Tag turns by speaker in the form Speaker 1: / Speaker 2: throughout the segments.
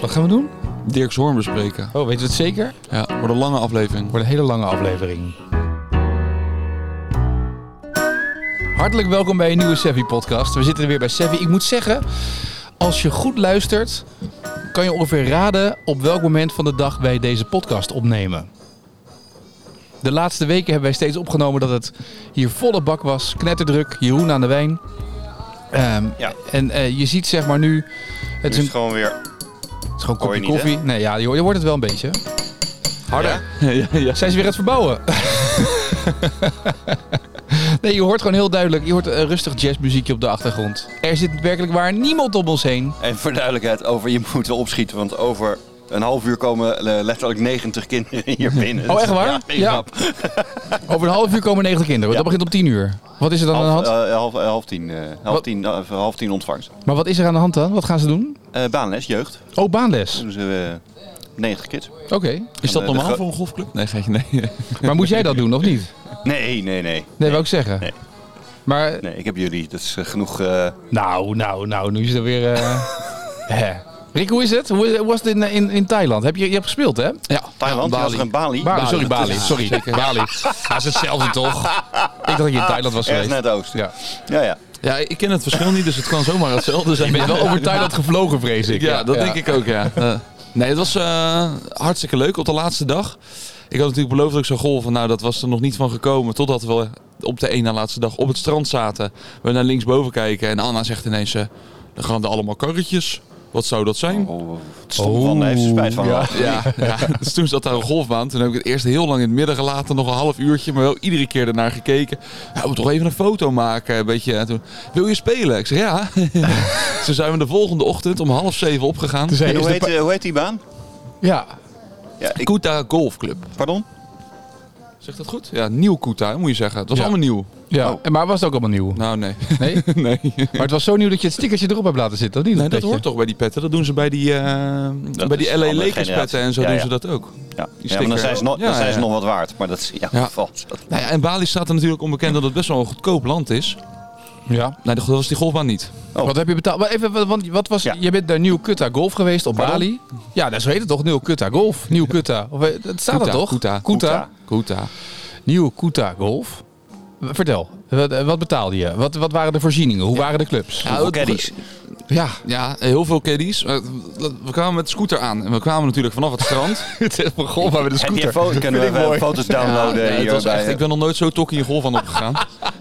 Speaker 1: Wat gaan we doen?
Speaker 2: Dirk Zorn bespreken.
Speaker 1: Oh, weet je het zeker?
Speaker 2: Ja, wordt een lange aflevering.
Speaker 1: Wordt een hele lange aflevering. Hartelijk welkom bij een nieuwe Sevi podcast. We zitten weer bij Sevi. Ik moet zeggen, als je goed luistert, kan je ongeveer raden op welk moment van de dag wij deze podcast opnemen. De laatste weken hebben wij steeds opgenomen dat het hier volle bak was. Knetterdruk, Jeroen aan de wijn. Ehm,
Speaker 3: Ja.
Speaker 1: En eh, je ziet zeg maar nu, het is een,
Speaker 3: het gewoon weer
Speaker 1: het is gewoon een
Speaker 3: hoor
Speaker 1: kopje
Speaker 3: je niet,
Speaker 1: koffie. Nee, ja, je, ho- je hoort het wel een beetje.
Speaker 3: harder.
Speaker 2: Ja, ja, ja.
Speaker 1: Zijn ze weer aan het verbouwen? nee, je hoort gewoon heel duidelijk. Je hoort eh, rustig jazzmuziekje op de achtergrond. Er zit werkelijk waar niemand om ons heen.
Speaker 3: En voor duidelijkheid, over, je moet wel opschieten, want over een half uur komen eh, letterlijk 90 kinderen hier binnen.
Speaker 1: Oh, echt waar?
Speaker 3: Ja, geen
Speaker 1: Ja.
Speaker 3: grap.
Speaker 1: Over een half uur komen 90 kinderen.
Speaker 3: Ja.
Speaker 1: Dat begint om 10 uur. Wat is er dan aan de
Speaker 3: Half,
Speaker 1: hand?
Speaker 3: eh, half, eh, half tien, eh, half,
Speaker 1: Wat?
Speaker 3: tien, eh, half tien ontvangst.
Speaker 1: Maar wat is er aan de hand dan? Wat gaan ze doen?
Speaker 3: Eh, baanles, jeugd.
Speaker 1: Oh, baanles.
Speaker 3: Toen ze eh 90 kids. eh,
Speaker 1: Oké.
Speaker 2: Is dat
Speaker 3: de- de
Speaker 2: normaal
Speaker 3: gro-
Speaker 2: voor een golfclub? Nee, geef nee.
Speaker 1: Maar moet jij dat doen of niet?
Speaker 3: Nee, nee, nee.
Speaker 1: Nee, wou ik zeggen.
Speaker 3: Nee.
Speaker 1: Maar,
Speaker 3: Nee, ik heb jullie. Dat is eh, genoeg. eh,
Speaker 1: nou, nou, nou, nu is er weer... eh, hè. Rick, hoe is het? Hoe hoe was het in, in, in Thailand? Heb je, je hebt gespeeld, hè?
Speaker 2: Ja,
Speaker 3: Thailand,
Speaker 2: Ja,
Speaker 3: je was er
Speaker 2: Bali.
Speaker 3: een Bali.
Speaker 1: Bali, sorry,
Speaker 2: dat
Speaker 1: Bali.
Speaker 2: is-
Speaker 1: Sorry, Bali. Dat is hetzelfde toch? Ik dacht dat je in Thailand was
Speaker 3: Ergens
Speaker 1: geweest.
Speaker 3: naar het oosten.
Speaker 1: Ja.
Speaker 3: Ja, ja.
Speaker 2: Ja, ik ken het verschil niet, dus het kan zomaar hetzelfde zijn.
Speaker 1: Je bent wel over Thailand gevlogen, vrees ik.
Speaker 2: Ja, dat denk ik ook, ja. Eh, nee, het was eh, hartstikke leuk op de laatste dag. Ik had natuurlijk beloofd dat ik zou golven. Nou, dat was er nog niet van gekomen. Totdat we op de één na laatste dag op het strand zaten. We naar linksboven kijken en Anna zegt ineens... eh, dan gaan er allemaal karretjes. Wat zou dat zijn?
Speaker 3: Oh, het stond van, daar heeft ze spijt van.
Speaker 1: Ja.
Speaker 3: Ja.
Speaker 2: Ja, ja, dus toen zat daar een golfbaan. Toen heb ik het eerst heel lang in het midden gelaten, nog een half uurtje, maar wel iedere keer ernaar gekeken. Ja, we moeten toch even een foto maken, een beetje. En toen, wil je spelen? Ik zeg ja. Zo zijn we de volgende ochtend om half zeven opgegaan.
Speaker 1: Dus hij
Speaker 3: En
Speaker 1: is
Speaker 3: hoe,
Speaker 1: de
Speaker 3: heet,
Speaker 1: pa-
Speaker 3: eh, hoe heet die baan?
Speaker 1: ja.
Speaker 3: Ja, ik,
Speaker 2: Kuta Golf Club.
Speaker 3: pardon?
Speaker 2: Zegt dat goed? Ja, nieuw Kuta, moet je zeggen. Het was
Speaker 1: Ja.
Speaker 2: allemaal nieuw.
Speaker 1: ja.
Speaker 3: Oh.
Speaker 1: En Maar was het ook allemaal nieuw?
Speaker 2: Nou, nee.
Speaker 1: Nee?
Speaker 2: nee.
Speaker 1: Maar het was zo nieuw dat je het stickertje erop hebt laten zitten, of niet?
Speaker 2: Nee, dat
Speaker 1: petje?
Speaker 2: hoort toch bij die petten. Dat doen ze bij die, eh bij
Speaker 3: is
Speaker 2: die
Speaker 3: een
Speaker 2: LA
Speaker 3: andere
Speaker 2: Lakers
Speaker 3: generatie.
Speaker 2: petten en zo
Speaker 3: Ja,
Speaker 2: doen
Speaker 3: ja.
Speaker 2: ze dat ook.
Speaker 3: Ja, ja maar
Speaker 2: sticker.
Speaker 3: dan zijn ze, nog-
Speaker 2: Ja,
Speaker 3: dan zijn ze
Speaker 2: ja.
Speaker 3: nog wat waard. Maar dat is ja,
Speaker 2: Ja.
Speaker 3: vals.
Speaker 2: Nou ja, en Bali staat er natuurlijk onbekend dat het best wel een goedkoop land is.
Speaker 1: Ja.
Speaker 2: Nee, dat was die golfbaan niet.
Speaker 3: Oh.
Speaker 1: Wat heb je betaald? Maar even, wat- want wat was,
Speaker 3: Ja.
Speaker 1: je bent naar Nieuw Kutta Golf geweest op
Speaker 2: Pardon?
Speaker 1: Bali. Ja, dat zo heet het toch? Nieuw Kutta Golf. Nieuw Kutta. Of, eh, dat staat er
Speaker 2: Kuta,
Speaker 1: toch?
Speaker 2: Kuta.
Speaker 1: Kuta.
Speaker 2: Kuta.
Speaker 1: Nieuw Kutta Golf. Vertel, wat, eh, wat betaalde je? Wat, wat waren de voorzieningen? Hoe waren de clubs?
Speaker 2: Ja,
Speaker 3: Hoeveel
Speaker 2: het-
Speaker 3: caddies?
Speaker 1: Ja,
Speaker 2: Ja, heel veel caddies. Eh, We kwamen met de scooter aan. En we kwamen natuurlijk vanaf het strand.
Speaker 1: het is begonnen met de
Speaker 3: Heb je
Speaker 1: scooter.
Speaker 3: foto's? Kunnen we even foto's downloaden?
Speaker 2: Ja, nee, het
Speaker 3: hier
Speaker 2: was
Speaker 3: bij, eh,
Speaker 2: echt, ik ben nog nooit zo tokkie in golf aan opgegaan.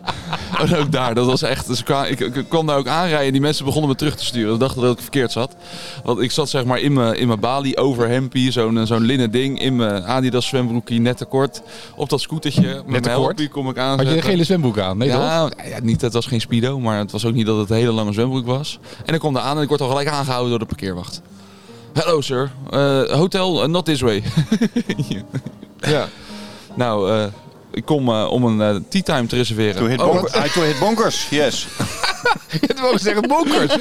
Speaker 2: en ook daar, dat was echt. Dus ik, kwam, ik, ik kwam daar ook aanrijden. Die mensen begonnen me terug te sturen. Ze dachten dat ik verkeerd zat. Want ik zat zeg maar in mijn, in mijn balie overhempie. Zo'n eh, zo'n linnen ding. In mijn Adidas zwembroekje, net te kort. Op dat scootertje. Met
Speaker 1: te
Speaker 2: mijn
Speaker 1: kort?
Speaker 2: helpie kom ik aan.
Speaker 1: Had je een gele zwembroek aan? Nee, toch?
Speaker 2: eh. Ja, nou ja, niet, het was geen speedo, maar het was ook niet dat het een hele lange zwembroek was. En ik kom daar aan en ik word al gelijk aangehouden door de parkeerwacht. Hello sir, Eh, hotel eh, not this way. ja. Nou, eh, ik kom eh, om een eh, tea time te reserveren.
Speaker 3: To hit,
Speaker 2: Oh,
Speaker 3: bonker, I to hit bonkers, yes.
Speaker 1: Het wou zeggen bonkers.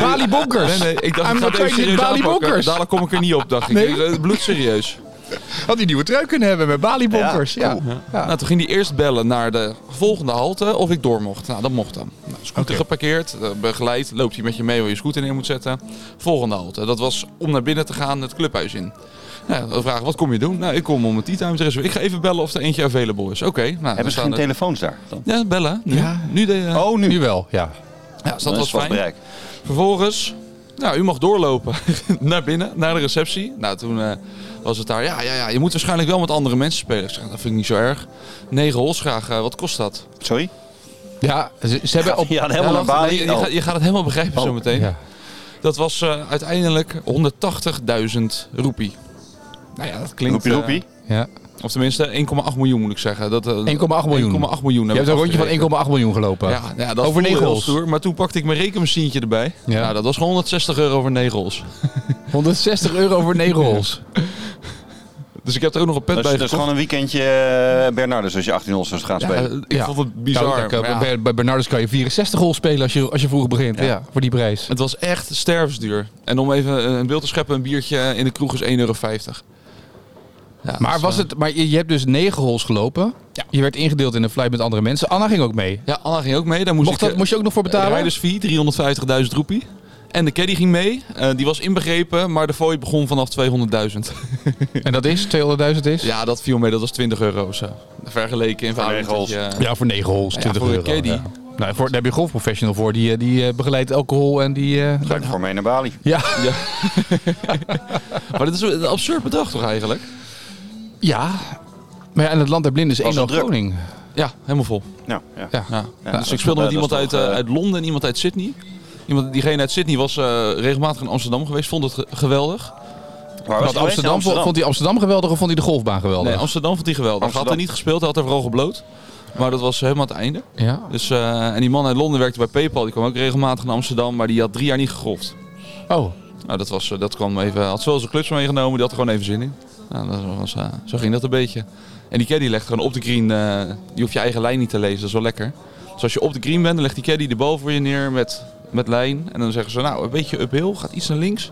Speaker 1: Bali bonkers.
Speaker 2: nee, nee, ik dacht
Speaker 1: I'm
Speaker 2: ik ga
Speaker 1: not
Speaker 2: het even
Speaker 1: trying to
Speaker 2: serieus
Speaker 1: Bali
Speaker 2: aanpakken.
Speaker 1: bonkers.
Speaker 2: Dadelijk kom ik er niet op, dacht ik.
Speaker 1: Nee?
Speaker 2: Eh, Bloedserieus.
Speaker 1: Had die nieuwe trui kunnen hebben met Bali bonkers. Ja,
Speaker 3: Ja, cool.
Speaker 1: Ja.
Speaker 2: Nou, toen ging hij eerst bellen naar de volgende halte of ik door mocht. Nou, dat mocht dan. Nou, scooter
Speaker 1: Oké.
Speaker 2: geparkeerd, eh, begeleid. Loopt hij met je mee waar je scooter neer moet zetten. Volgende halte. Dat was om naar binnen te gaan het clubhuis in. Nou, dan vragen, wat kom je doen? Nou, ik kom om een tea time te reserveren. Ik ga even bellen of er eentje available is. Oké. nou, dan
Speaker 3: Hebben ze
Speaker 2: staan
Speaker 3: geen
Speaker 2: er-
Speaker 3: telefoons daar? Dan?
Speaker 2: Ja, bellen. Nu,
Speaker 1: Ja.
Speaker 2: nu de, eh,
Speaker 3: Oh, nu.
Speaker 1: Nu wel, ja.
Speaker 2: ja, dus
Speaker 3: Dan
Speaker 2: dat
Speaker 3: is
Speaker 2: was
Speaker 3: het vast
Speaker 2: fijn.
Speaker 3: bereik.
Speaker 2: Vervolgens, nou, u mag doorlopen naar binnen, naar de receptie. Nou, toen eh, was het daar, ja, ja, ja, je moet waarschijnlijk wel met andere mensen spelen. Ik zeg, nou, dat vind ik niet zo erg. 9 hols graag, eh, wat kost dat?
Speaker 3: Sorry?
Speaker 1: Ja, ze, ze hebben op...
Speaker 3: Ja, dan helemaal naar
Speaker 2: Ja, wacht,
Speaker 3: Bali.
Speaker 2: Je, je
Speaker 3: Oh.
Speaker 2: gaat, je gaat het helemaal begrijpen
Speaker 3: Oh,
Speaker 2: zometeen.
Speaker 1: Ja.
Speaker 2: Dat was eh, uiteindelijk 180.000 roepie. Nou ja, dat klinkt...
Speaker 3: Roepie,
Speaker 2: eh,
Speaker 3: roepie.
Speaker 1: Ja. 1,8
Speaker 2: of tenminste 1,8 miljoen moet ik zeggen. Dat, eh, 1,8
Speaker 1: miljoen.
Speaker 2: miljoen.
Speaker 1: Je hebt een rondje van 1,8 miljoen gelopen.
Speaker 2: Ja, ja, dat
Speaker 1: Over
Speaker 2: voelde
Speaker 1: negen
Speaker 2: heel
Speaker 1: holes.
Speaker 2: stoer. Maar toen pakte ik mijn rekenmachientje erbij.
Speaker 1: Ja.
Speaker 2: Nou, dat was gewoon 160 euro voor 9 hols.
Speaker 1: 160 euro voor 9 hols.
Speaker 2: Dus ik heb er ook nog een pet
Speaker 3: Dat is,
Speaker 2: bij
Speaker 3: dat is
Speaker 2: gekocht.
Speaker 3: gewoon een weekendje eh, Bernardus als je 18 ons zou gaan spelen.
Speaker 2: Ja, ik
Speaker 1: Ja.
Speaker 2: vond het bizar.
Speaker 1: Nou, kijk,
Speaker 2: maar ja,
Speaker 1: bij, bij Bernardus kan je 64 hols spelen als je, als je vroeg begint. Ja. voor die prijs.
Speaker 2: het was echt stervensduur. En om even eh, een beeld te scheppen, een biertje in de kroeg is 1,50 euro. Ja,
Speaker 1: Maar,
Speaker 2: dat
Speaker 1: was
Speaker 2: is, eh,
Speaker 1: het, maar je, je hebt dus 9 hols gelopen.
Speaker 2: Ja.
Speaker 1: Je werd ingedeeld in een flight met andere mensen. Anna ging ook mee.
Speaker 2: Ja, Anna ging ook mee. Daar moest
Speaker 1: Mocht
Speaker 2: ik, eh,
Speaker 1: dat, moest je ook nog voor betalen?
Speaker 2: Rijders 4, 350.000 roepie. En de caddy ging mee. Eh, die was inbegrepen, maar de fooi begon vanaf 200.000.
Speaker 1: En dat is 200.000 is?
Speaker 2: ja, dat viel mee. Dat was 20 euro zo. Vergeleken in
Speaker 3: Voor
Speaker 2: verhouding
Speaker 3: negen
Speaker 2: tot je-
Speaker 1: Ja, voor 9 holes,
Speaker 2: Ja,
Speaker 1: 20
Speaker 2: voor een
Speaker 1: euro.
Speaker 2: caddy.
Speaker 1: ja. Nou, voor, daar heb je een golfprofessional voor. Die, eh, die eh, begeleidt alcohol en die... eh,
Speaker 3: Ga ik voor mee naar Bali.
Speaker 1: ja.
Speaker 2: Maar dat is een absurd bedrag toch eigenlijk?
Speaker 1: ja. Maar ja, en het land der blinden is
Speaker 3: Was
Speaker 1: één
Speaker 3: wel druk.
Speaker 1: koning.
Speaker 2: Ja, helemaal vol.
Speaker 3: Nou, ja.
Speaker 1: Ja.
Speaker 2: Ja.
Speaker 3: Ja,
Speaker 2: dus
Speaker 3: dat
Speaker 2: ik
Speaker 3: is
Speaker 2: speelde
Speaker 3: toch,
Speaker 2: met
Speaker 3: eh,
Speaker 2: iemand
Speaker 3: dat is
Speaker 2: uit,
Speaker 3: toch,
Speaker 2: eh,
Speaker 3: eh,
Speaker 2: uit Londen en iemand uit Sydney. Iemand, diegene uit Sydney was eh, regelmatig in Amsterdam geweest, vond het ge- geweldig.
Speaker 3: Waar
Speaker 1: Want
Speaker 3: geweest?
Speaker 1: Amsterdam, Vond hij Amsterdam geweldig of vond hij de golfbaan geweldig?
Speaker 2: Nee, Amsterdam vond hij geweldig. Hij had
Speaker 3: Amsterdam.
Speaker 2: er niet gespeeld, hij had er vooral gebloot. Maar dat was helemaal het einde.
Speaker 1: ja.
Speaker 2: Dus, eh, en die man uit Londen werkte bij PayPal. Die kwam ook regelmatig naar Amsterdam, maar die had drie jaar niet gegolfd.
Speaker 1: Oh,
Speaker 2: Nou, dat, was, eh, dat kwam even. Had zowel zijn clubs meegenomen, die had er gewoon even zin in. Nou, dat was, eh, zo ging dat een beetje. En die caddy legt gewoon op de green. eh, die hoeft je eigen lijn niet te lezen, dat is wel lekker. Dus als je op de green bent, dan legt die caddy de bal voor je neer met, met lijn. En dan zeggen ze, nou, een beetje uphill, gaat iets naar links.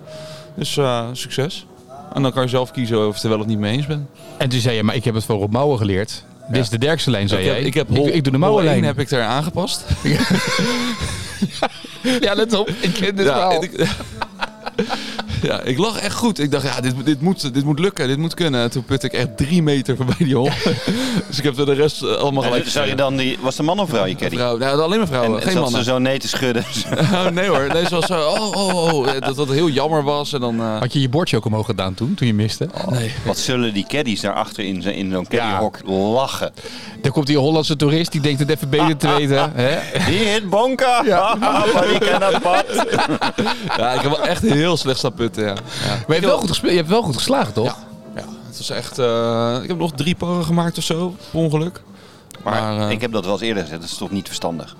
Speaker 2: Dus eh, succes. En dan kan je zelf kiezen of je het er wel of niet mee eens bent.
Speaker 1: en toen zei je, maar ik heb het van Rob Mouwen geleerd. Dit is de derkste lijn, zei
Speaker 2: ik,
Speaker 1: jij.
Speaker 2: heb, ik, heb hol-
Speaker 1: ik, doe de
Speaker 2: hol
Speaker 1: mouwenlijn.
Speaker 2: één heb ik er aangepast.
Speaker 1: Ja, let op. Ik ken dit
Speaker 2: ja,
Speaker 1: verhaal.
Speaker 2: en ik, ja, ik lag echt goed. Ik dacht, ja, dit, dit, moet, dit moet lukken, dit moet kunnen. En Toen putte ik echt drie meter voorbij die hol. dus ik heb de rest eh, allemaal gelijk.
Speaker 3: Zou je dan die, was de man of vrouw je caddy?
Speaker 2: Vrouw, nou, alleen maar vrouwen,
Speaker 3: en
Speaker 2: geen
Speaker 3: zat
Speaker 2: mannen.
Speaker 3: ze zo nee te schudden.
Speaker 2: Oh, nee hoor, nee, ze was zo, oh, oh, oh, eh, dat dat heel jammer was. En dan, eh,
Speaker 1: Had je je bordje ook omhoog gedaan toen, toen je miste?
Speaker 2: nee.
Speaker 3: Wat zullen die caddies daarachter in, zo- in zo'n caddyhok lachen?
Speaker 1: Dan komt die Hollandse toerist, die denkt het even beter te weten. Hè?
Speaker 3: Die hit bonka! Ja. maar die kan dat pad.
Speaker 2: Ja, ik heb wel echt heel slecht staan putten, ja. ja.
Speaker 1: Maar je hebt wel goed, gespeeld, je hebt wel goed geslagen, toch? Dus
Speaker 2: Ja, ja, het was echt, eh, ik heb nog drie parren gemaakt of zo, per ongeluk.
Speaker 3: Maar,
Speaker 2: Maar, eh,
Speaker 3: ik heb dat wel eens eerder gezegd, dat is toch niet verstandig.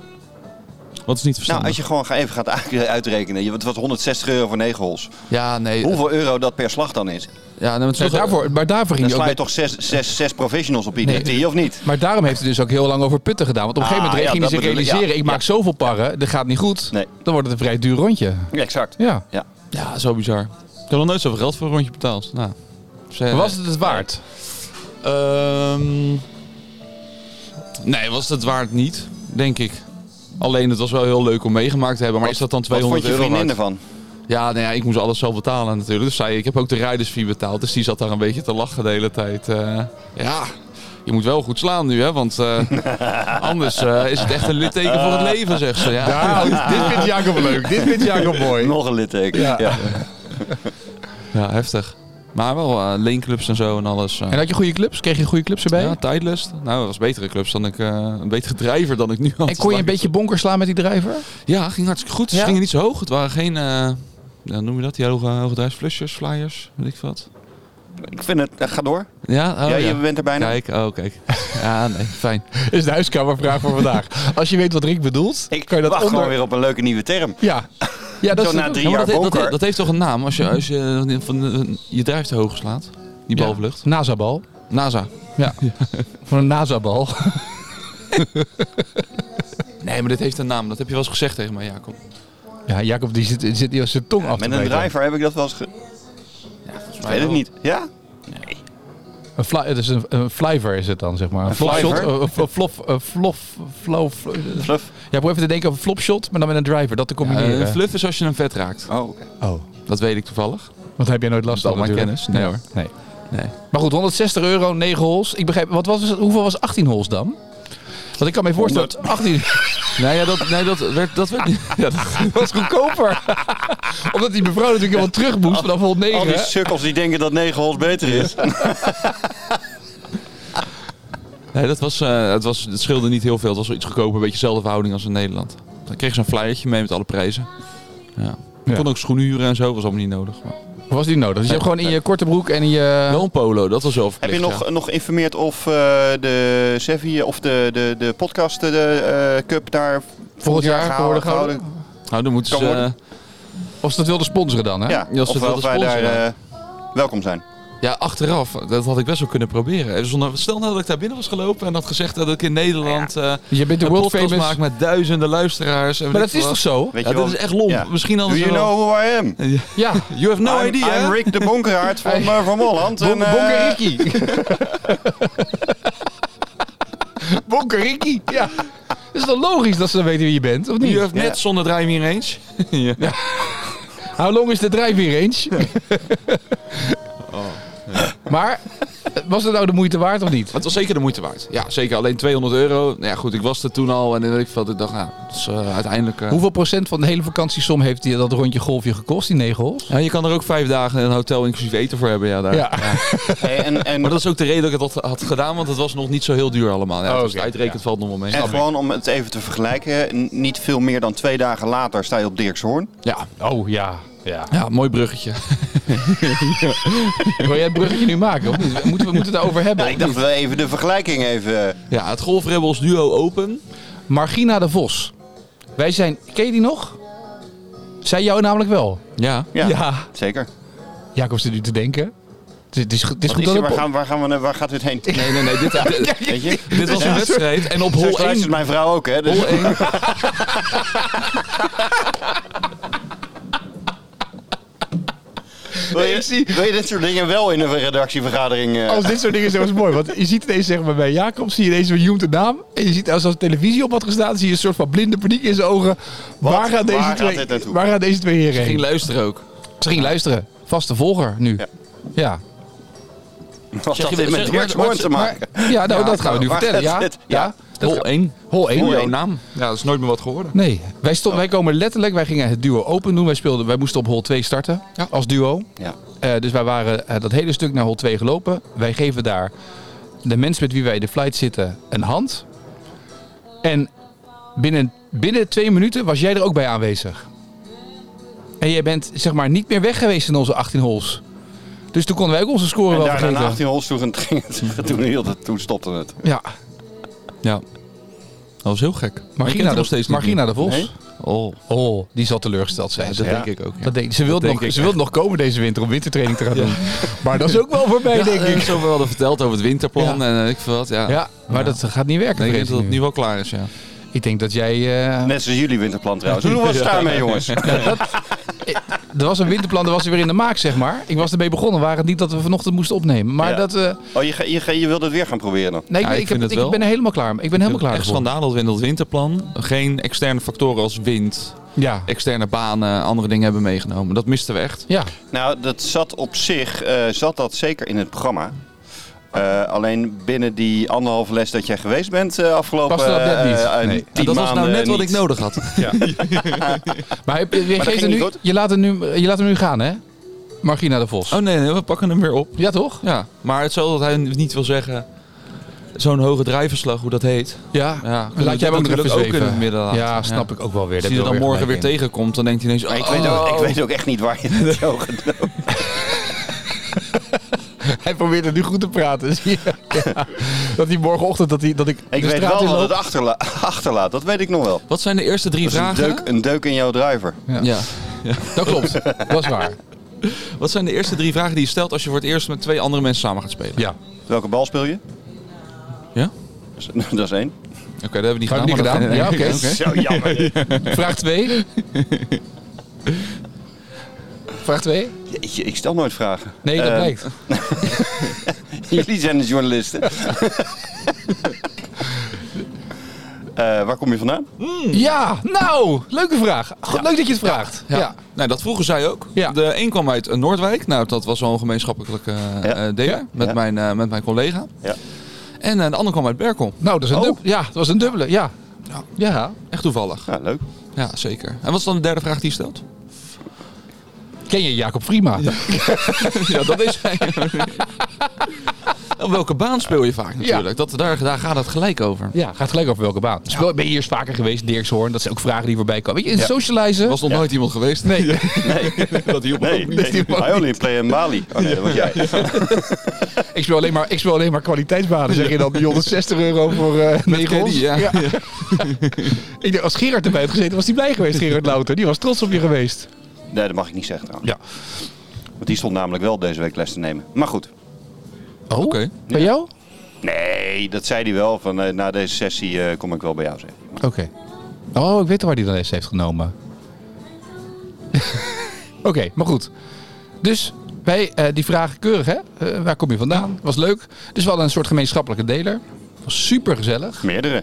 Speaker 2: Wat is niet verstandig.
Speaker 3: Nou, als je gewoon ga- even gaat uit- uitrekenen. je- Het was 160 euro voor 9 holes.
Speaker 2: Ja, nee.
Speaker 3: Hoeveel euro dat per slag dan is?
Speaker 2: Ja, nee, maar het is
Speaker 1: Nee,
Speaker 2: toch-
Speaker 1: daarvoor, maar daarvoor ging
Speaker 3: Dan
Speaker 1: hij ook
Speaker 3: sla je
Speaker 1: met-
Speaker 3: toch zes, zes, zes professionals op iedere
Speaker 1: Nee.
Speaker 3: tee, of niet?
Speaker 1: Maar daarom heeft hij dus ook heel lang over putten gedaan. Want op een
Speaker 3: Ah,
Speaker 1: gegeven moment
Speaker 3: ja,
Speaker 1: ging hij
Speaker 3: dat
Speaker 1: zich
Speaker 3: bedoel ik, ja.
Speaker 1: realiseren... ik maak
Speaker 3: Ja.
Speaker 1: zoveel parren, dat gaat niet goed.
Speaker 3: Nee.
Speaker 1: Dan wordt het een vrij duur rondje.
Speaker 3: Exact.
Speaker 1: Ja.
Speaker 3: Ja.
Speaker 2: Ja, zo bizar. Ik heb nog nooit zoveel geld voor een rondje betaald. Nou,
Speaker 1: Maar was het het waard?
Speaker 2: Ehm, nee, was het waard niet, denk ik. Alleen, het was wel heel leuk om meegemaakt te hebben. Maar is dat dan
Speaker 3: Wat
Speaker 2: 200
Speaker 3: vond je
Speaker 2: euro
Speaker 3: vriendin
Speaker 2: waard?
Speaker 3: ervan?
Speaker 2: Ja, nou ja, ik moest alles zelf betalen natuurlijk. Dus zij, ik heb ook de rijdersfee betaald. Dus die zat daar een beetje te lachen de hele tijd. Eh, ja, je moet wel goed slaan nu, hè. Want eh, anders eh, is het echt een litteken voor het leven, zegt ze. Ja.
Speaker 1: dit vindt Jacob leuk. Dit vindt Jacob mooi.
Speaker 3: Nog een litteken. Ja.
Speaker 2: ja, heftig. Maar wel eh, leenclubs en zo en alles. eh.
Speaker 1: En had je goede clubs? Kreeg je goede clubs erbij?
Speaker 2: Ja, tijdlust. Nou, dat was betere clubs dan ik, eh, een betere drijver dan ik nu had.
Speaker 1: en kon je een beetje bonker slaan met die drijver?
Speaker 2: Ja, ging hartstikke goed. Ze
Speaker 1: Ja?
Speaker 2: gingen niet zo hoog. Het waren geen, eh ja, noem je dat, die hoge, hoge drijvers, flushers, flyers, weet ik wat.
Speaker 3: Ik vind het, eh, ga door.
Speaker 2: Ja, oh,
Speaker 3: ja,
Speaker 2: ja,
Speaker 3: je bent er bijna.
Speaker 2: Kijk, oh kijk. Ja, nee, fijn.
Speaker 1: Is de huiskamervraag voor vandaag. Als je weet wat Rick bedoelt,
Speaker 3: Ik
Speaker 1: kan je dat
Speaker 3: wacht
Speaker 1: onder...
Speaker 3: gewoon weer op een leuke nieuwe term.
Speaker 1: Ja. ja, dat
Speaker 3: Zo
Speaker 1: is
Speaker 3: na
Speaker 1: het.
Speaker 3: drie
Speaker 2: Ja, maar dat,
Speaker 3: jaar
Speaker 2: heeft- dat,
Speaker 3: bonker. Mhm.
Speaker 2: heeft- dat heeft toch een naam als je, als je eh, van, van- je drijf te hoog slaat? Die
Speaker 1: Ja.
Speaker 2: bovenlucht.
Speaker 1: NASA-bal.
Speaker 2: NASA.
Speaker 1: Ja. Van een NASA-bal.
Speaker 2: Nee, maar dit heeft een naam. Dat heb je wel eens gezegd tegen mij, Jacob.
Speaker 1: Ja, Jacob die zit, zit die als zijn tong af te
Speaker 3: Met een
Speaker 1: bijten.
Speaker 3: driver heb ik dat wel eens ge... Ik weet het niet. Ja?
Speaker 1: Een fly, het is een, een flyver is het dan, zeg maar. Een flopshot.
Speaker 3: flyver?
Speaker 1: Een fl- flof, een flof, flow, flow.
Speaker 3: Fluff.
Speaker 1: Ja, probeer even te denken over een flopshot, maar dan met een driver. Dat te combineren.
Speaker 2: een Eh, fluff is als je een vet raakt.
Speaker 3: Oh, oké.
Speaker 1: oh,
Speaker 2: Dat weet ik toevallig.
Speaker 1: want heb jij nooit last
Speaker 2: Dat is
Speaker 1: van
Speaker 2: al mijn
Speaker 1: natuurlijk.
Speaker 2: kennis. Nee hoor.
Speaker 1: Nee.
Speaker 2: Nee.
Speaker 1: Maar goed, 160 euro, 9 holes. Ik begrijp, wat was, het- hoeveel was 18 holes dan? Want ik kan me voorstellen, dat 18
Speaker 2: Nee, ja, dat, nee, dat werd, dat werd niet. Ja, dat-
Speaker 1: was goedkoper. Omdat die mevrouw natuurlijk helemaal terug moest vanaf hol 9.
Speaker 3: Al die sukkels die denken dat 9 holes beter is.
Speaker 2: Nee, dat was, eh, het, was, het scheelde niet heel veel. Het was wel iets goedkoper. Een beetje dezelfde verhouding als in Nederland. Dan kreeg ze een flyertje mee met alle prijzen. Ja. Je
Speaker 1: Ja.
Speaker 2: kon ook schoenen huren en zo. was allemaal niet nodig. Maar...
Speaker 1: Was die nodig? Dus je hebt gewoon in je korte broek en in je...
Speaker 2: Wel een polo, dat was wel
Speaker 3: Heb
Speaker 2: verplicht,
Speaker 3: je nog,
Speaker 2: ja.
Speaker 3: nog geïnformeerd of eh, de Sevi of de, de, de podcast eh, de, eh, Cup daar
Speaker 1: Volgend jaar
Speaker 3: gehouden-
Speaker 1: kan worden gehouden?
Speaker 2: Nou, dan moeten
Speaker 3: Kan
Speaker 2: ze...
Speaker 3: worden.
Speaker 2: eh,
Speaker 1: Of ze dat wilden sponsoren dan, hè?
Speaker 3: Ja,
Speaker 2: Ja, als
Speaker 3: of
Speaker 2: het wel
Speaker 3: wel
Speaker 2: de
Speaker 3: wij daar
Speaker 2: sponsor
Speaker 3: eh, welkom zijn.
Speaker 2: ja, achteraf. Dat had ik best wel kunnen proberen. Er stond- Stel nou dat ik daar binnen was gelopen en had gezegd dat ik in Nederland... eh
Speaker 1: Dus je bent de
Speaker 2: een
Speaker 1: world
Speaker 2: podcast
Speaker 1: famous...
Speaker 2: maak met duizenden luisteraars. en
Speaker 1: Maar
Speaker 2: weet
Speaker 1: dat is
Speaker 2: ik
Speaker 1: toch
Speaker 2: wat.
Speaker 1: zo?
Speaker 3: Weet
Speaker 2: Ja,
Speaker 3: je
Speaker 2: dat
Speaker 3: wel?
Speaker 2: is echt lomp.
Speaker 3: Ja.
Speaker 2: Misschien
Speaker 3: Do
Speaker 2: hadden ze
Speaker 3: you
Speaker 2: wel-
Speaker 3: know who I am?
Speaker 1: Ja.
Speaker 2: You have no
Speaker 3: I'm,
Speaker 2: idea, hè?
Speaker 3: I'm Rick de Bonkeraard van, eh, van Holland. en, eh,
Speaker 1: Bonkeriki. Bonkeriki, ja. Is het wel logisch dat ze dan weten wie je bent, of niet?
Speaker 2: You have
Speaker 3: Ja.
Speaker 2: net zonder driving range. ja.
Speaker 1: How long is de driving range? Maar was het nou de moeite waard of niet?
Speaker 2: Maar het was zeker de moeite waard. Ja, zeker. Alleen 200 euro. Nou ja, goed, ik was er toen al en dan weet ik veel. Ik dacht, nou, dat is eh, uiteindelijk... eh,
Speaker 1: Hoeveel procent van de hele vakantiesom heeft die, dat rondje golfje gekost, die negen holes?
Speaker 2: ja, je kan er ook vijf dagen een hotel inclusief eten voor hebben. Ja, daar.
Speaker 1: Ja.
Speaker 3: Hey, en en,
Speaker 2: Maar dat is ook de reden dat ik het had- had gedaan, want het was nog niet zo heel duur allemaal. Ja,
Speaker 1: Oh,
Speaker 2: als
Speaker 1: oké.
Speaker 2: het uitrekent valt nog wel mee.
Speaker 3: en gewoon om het even te vergelijken, n- niet veel meer dan twee dagen later sta je op Dirkshoorn.
Speaker 2: Ja.
Speaker 1: Oh ja. Ja.
Speaker 2: ja, mooi bruggetje.
Speaker 1: Wil jij het bruggetje nu maken? Of niet? Moeten we moeten het daarover hebben?
Speaker 3: Ja, ik dacht wel even de vergelijking even. eh,
Speaker 2: Ja, het Golf Rebels Duo Open.
Speaker 1: Margina de Vos. Wij zijn. Ken je die nog? Zij jou namelijk wel.
Speaker 2: Ja.
Speaker 3: Ja,
Speaker 1: ja.
Speaker 3: zeker.
Speaker 1: Jacob zit nu te denken. Het is, het is, het is
Speaker 3: Wat
Speaker 1: goed
Speaker 3: is
Speaker 1: dat het
Speaker 3: er, waar,
Speaker 1: op-
Speaker 3: gaan, waar, gaan we, naar- waar gaat dit heen?
Speaker 2: Nee, nee, nee. Dit, dit,
Speaker 3: Weet je?
Speaker 2: dit was een
Speaker 3: Ja.
Speaker 2: wedstrijd. En op
Speaker 3: Zo
Speaker 2: hol 1...
Speaker 3: luistert mijn vrouw ook, hè? Dus-
Speaker 2: Hol 1...
Speaker 3: wil,
Speaker 1: Nee, ik
Speaker 3: je,
Speaker 1: zie- Oh,
Speaker 3: wil je dit soort dingen wel in een redactievergadering? eh,
Speaker 1: Als dit soort dingen zijn, was het mooi. Want je ziet ineens, zeg maar, bij Jacob zie je ineens een de naam. En je ziet, als er televisie op had gestaan, zie je een soort van blinde paniek in zijn ogen. Waar gaan, deze
Speaker 3: Waar gaat
Speaker 1: twee,
Speaker 3: dit naartoe?
Speaker 1: waar gaan deze twee heren
Speaker 2: Ging
Speaker 1: heen?
Speaker 2: luisteren ook.
Speaker 1: Ze ging luisteren. Vaste volger nu. Ja.
Speaker 3: Ja.
Speaker 1: ja.
Speaker 3: Wat
Speaker 2: Zeg
Speaker 3: had
Speaker 2: je-
Speaker 3: dit
Speaker 2: zeg-
Speaker 3: met Dirkshoorn te maken?
Speaker 1: ja, nou,
Speaker 3: Ja,
Speaker 1: dat gaan we nu
Speaker 3: waar
Speaker 1: vertellen.
Speaker 3: gaat
Speaker 1: Ja,
Speaker 3: dit?
Speaker 1: ja. dat
Speaker 2: Hol
Speaker 1: ga-
Speaker 2: 1.
Speaker 1: Hol 1.
Speaker 2: Hol 1 naam. Ja, dat is nooit meer wat geworden.
Speaker 1: Nee, wij, stond, wij komen letterlijk, wij gingen het duo open doen. Wij, speelden, wij moesten op hol 2 starten
Speaker 2: Ja.
Speaker 1: als duo.
Speaker 3: Ja.
Speaker 1: Eh, dus wij waren eh, dat hele stuk naar hol 2 gelopen. Wij geven daar de mens met wie wij in de flight zitten een hand. En binnen, binnen twee minuten was jij er ook bij aanwezig. En jij bent zeg maar niet meer weg geweest in onze 18 holes. Dus toen konden wij ook onze score
Speaker 3: En
Speaker 1: wel
Speaker 3: daarna na
Speaker 1: vergeten.
Speaker 3: 18 holes toen ging het, toen, hield het, toen stopte het.
Speaker 1: Ja,
Speaker 2: Ja. Dat was heel gek. Maar ik ken
Speaker 1: Margina,
Speaker 2: het nog
Speaker 1: de,
Speaker 2: steeds niet
Speaker 1: Margina de Vos.
Speaker 3: Nee?
Speaker 2: meer. Oh,
Speaker 1: Oh, die zal teleurgesteld zijn.
Speaker 2: dat
Speaker 1: zeg.
Speaker 2: denk ik ook. Ja.
Speaker 1: Dat denk, ze wil,
Speaker 2: denk
Speaker 1: nog,
Speaker 2: ik
Speaker 1: ze wil nog komen deze winter om wintertraining te gaan doen. Maar dat is ook wel voorbij,
Speaker 2: Ja,
Speaker 1: denk
Speaker 2: eh,
Speaker 1: ik.
Speaker 2: Zoveel hadden verteld over het winterplan
Speaker 1: Ja.
Speaker 2: en eh, ik veel wat. Ja.
Speaker 1: Ja, maar
Speaker 2: Ja.
Speaker 1: dat gaat niet werken.
Speaker 2: Ik denk
Speaker 1: vrees
Speaker 2: dat het
Speaker 1: nu.
Speaker 2: nu wel klaar is, ja.
Speaker 1: Ik denk dat jij... eh,
Speaker 3: Net zoals jullie winterplan trouwens. Hoe was het daarmee, jongens?
Speaker 1: Er was een winterplan, dat was weer in de maak, zeg maar. Ik was ermee begonnen, waren het niet dat we vanochtend moesten opnemen. Maar
Speaker 3: Ja.
Speaker 1: dat... eh,
Speaker 3: Oh, je, ga- je, ga- je wilde het weer gaan proberen dan?
Speaker 1: nee, ik,
Speaker 2: Ja,
Speaker 1: ik,
Speaker 2: ik vind
Speaker 1: heb-
Speaker 2: het
Speaker 1: ik
Speaker 2: wel.
Speaker 1: ben er helemaal klaar mee. Ik ben helemaal klaar
Speaker 2: Echt
Speaker 1: ervoor.
Speaker 2: schandaal dat we in dat winterplan geen externe factoren als wind,
Speaker 1: Ja.
Speaker 2: externe banen, andere dingen hebben meegenomen. Dat misten we echt.
Speaker 1: Ja.
Speaker 3: Nou, dat zat op zich, eh, zat dat zeker in het programma. Eh, alleen binnen die anderhalve les dat jij geweest bent eh, afgelopen
Speaker 1: Paste dat net niet.
Speaker 3: eh, eh,
Speaker 1: Nee.
Speaker 3: tien
Speaker 2: En dat was nou
Speaker 3: maanden eh,
Speaker 2: net wat ik
Speaker 3: niet.
Speaker 2: nodig had.
Speaker 1: Maar, heb- je, geeft
Speaker 3: ging
Speaker 1: hem
Speaker 3: niet
Speaker 1: nu,
Speaker 3: goed.
Speaker 1: je, laat hem nu, je laat hem nu gaan, hè? Margina de Vos.
Speaker 2: Oh nee, nee, we pakken hem weer op.
Speaker 1: Ja, toch?
Speaker 2: Ja, maar hetzelfde dat hij niet wil zeggen. Zo'n hoge drijverslag, hoe dat heet.
Speaker 1: Ja.
Speaker 2: Ja,
Speaker 1: Laat jij hem ook nog even
Speaker 2: natuurlijk ook in
Speaker 1: zweven.
Speaker 2: het midden laten.
Speaker 1: Ja, snap ik ook wel weer.
Speaker 2: Als
Speaker 1: Daar
Speaker 2: hij
Speaker 1: heb
Speaker 2: er dan
Speaker 1: je
Speaker 2: morgen weer
Speaker 1: gelijk in.
Speaker 2: tegenkomt, dan denkt hij ineens...
Speaker 3: Maar ik,
Speaker 2: oh,
Speaker 3: weet ook, ik weet ook echt niet waar je het zo gedaan
Speaker 1: Hij probeert het nu goed te praten. zie je? Ja. Dat hij morgenochtend dat, hij, dat ik,
Speaker 3: Ik
Speaker 1: de
Speaker 3: weet
Speaker 1: straat
Speaker 3: wel
Speaker 1: in
Speaker 3: dat het
Speaker 1: loop.
Speaker 3: achterla- achterlaat, dat weet ik nog wel.
Speaker 2: Wat zijn de eerste drie
Speaker 3: Dat is een
Speaker 2: vragen?
Speaker 3: deuk, een deuk in jouw driver.
Speaker 1: Ja.
Speaker 2: Ja.
Speaker 1: Dat klopt. Dat is waar.
Speaker 2: Wat zijn de eerste drie vragen die je stelt als je voor het eerst met twee andere mensen samen gaat spelen?
Speaker 1: Ja.
Speaker 3: Welke bal speel je?
Speaker 2: Ja?
Speaker 3: Dat is- Dat is één.
Speaker 2: Oké, dat hebben we niet
Speaker 1: Hebben we
Speaker 2: gedaan.
Speaker 1: niet
Speaker 2: maar dat-
Speaker 1: gedaan? Ja, oké.
Speaker 2: nee,
Speaker 3: Zo jammer.
Speaker 1: Vraag 2. Vraag 2?
Speaker 3: Jeetje, ik stel nooit vragen.
Speaker 1: Nee, dat
Speaker 3: Eh,
Speaker 1: blijkt.
Speaker 3: Jullie zijn de journalisten. Eh, waar kom je vandaan?
Speaker 1: Ja, nou, leuke vraag. Goed, Leuk dat je het vraagt. Ja.
Speaker 2: Ja. Nou, dat vroegen zij ook.
Speaker 1: Ja.
Speaker 2: De een kwam uit eh, Noordwijk. Nou, dat was wel een gemeenschappelijke eh eh, deler
Speaker 1: Ja.
Speaker 2: Met,
Speaker 3: Ja.
Speaker 2: Mijn, eh, met mijn collega.
Speaker 3: Ja.
Speaker 2: En eh, de ander kwam uit Berkel.
Speaker 1: Nou, dat is een
Speaker 3: Oh.
Speaker 1: dubbele. Ja, dat was een dubbele. Ja.
Speaker 2: Ja.
Speaker 1: Ja.
Speaker 2: Echt toevallig.
Speaker 3: Nou, leuk.
Speaker 2: Ja, zeker. En wat is dan de derde vraag die je stelt?
Speaker 1: Ken je Jacob Prima? Ja.
Speaker 2: ja, dat is hij. Op welke baan speel je vaak natuurlijk?
Speaker 1: Ja.
Speaker 2: Dat, daar, daar gaat het gelijk over.
Speaker 1: gaat gelijk over welke baan. Dus wel- Ben je hier eens vaker geweest, Dirkshoorn? Dat zijn ook vragen die voorbij komen. Weet je, in socializen.
Speaker 2: Er was nog nooit iemand geweest.
Speaker 1: Nee.
Speaker 2: dat hielp
Speaker 3: Nee,
Speaker 2: ook niet.
Speaker 1: die
Speaker 3: nee.
Speaker 1: mag
Speaker 3: I only play in Bali. Oh nee, dat was jij.
Speaker 1: Ik speel alleen maar, ik speel alleen maar kwaliteitsbanen. Zeg je dan die 160 euro voor eh
Speaker 2: Met
Speaker 1: negen
Speaker 2: Kenny,
Speaker 1: holes?
Speaker 2: ja.
Speaker 1: Ja. Ik denk, als Gerard erbij had gezeten, was hij blij geweest, Gerard Louter. Die was trots op je geweest.
Speaker 3: Nee, dat mag ik niet zeggen trouwens.
Speaker 1: Ja.
Speaker 3: Want die stond namelijk wel deze week les te nemen. Maar goed.
Speaker 1: Oh,
Speaker 2: Oké.
Speaker 1: bij jou?
Speaker 3: Nee, dat zei hij wel. Van, eh, na deze sessie eh, kom ik wel bij jou zeggen.
Speaker 1: Oké. Oh, ik weet al waar hij dan les heeft genomen. Oké, maar goed. Dus wij, eh, die vragen keurig, hè? Eh, waar kom je vandaan? Was leuk. Dus we hadden een soort gemeenschappelijke deler. Was super gezellig.
Speaker 3: Meerdere.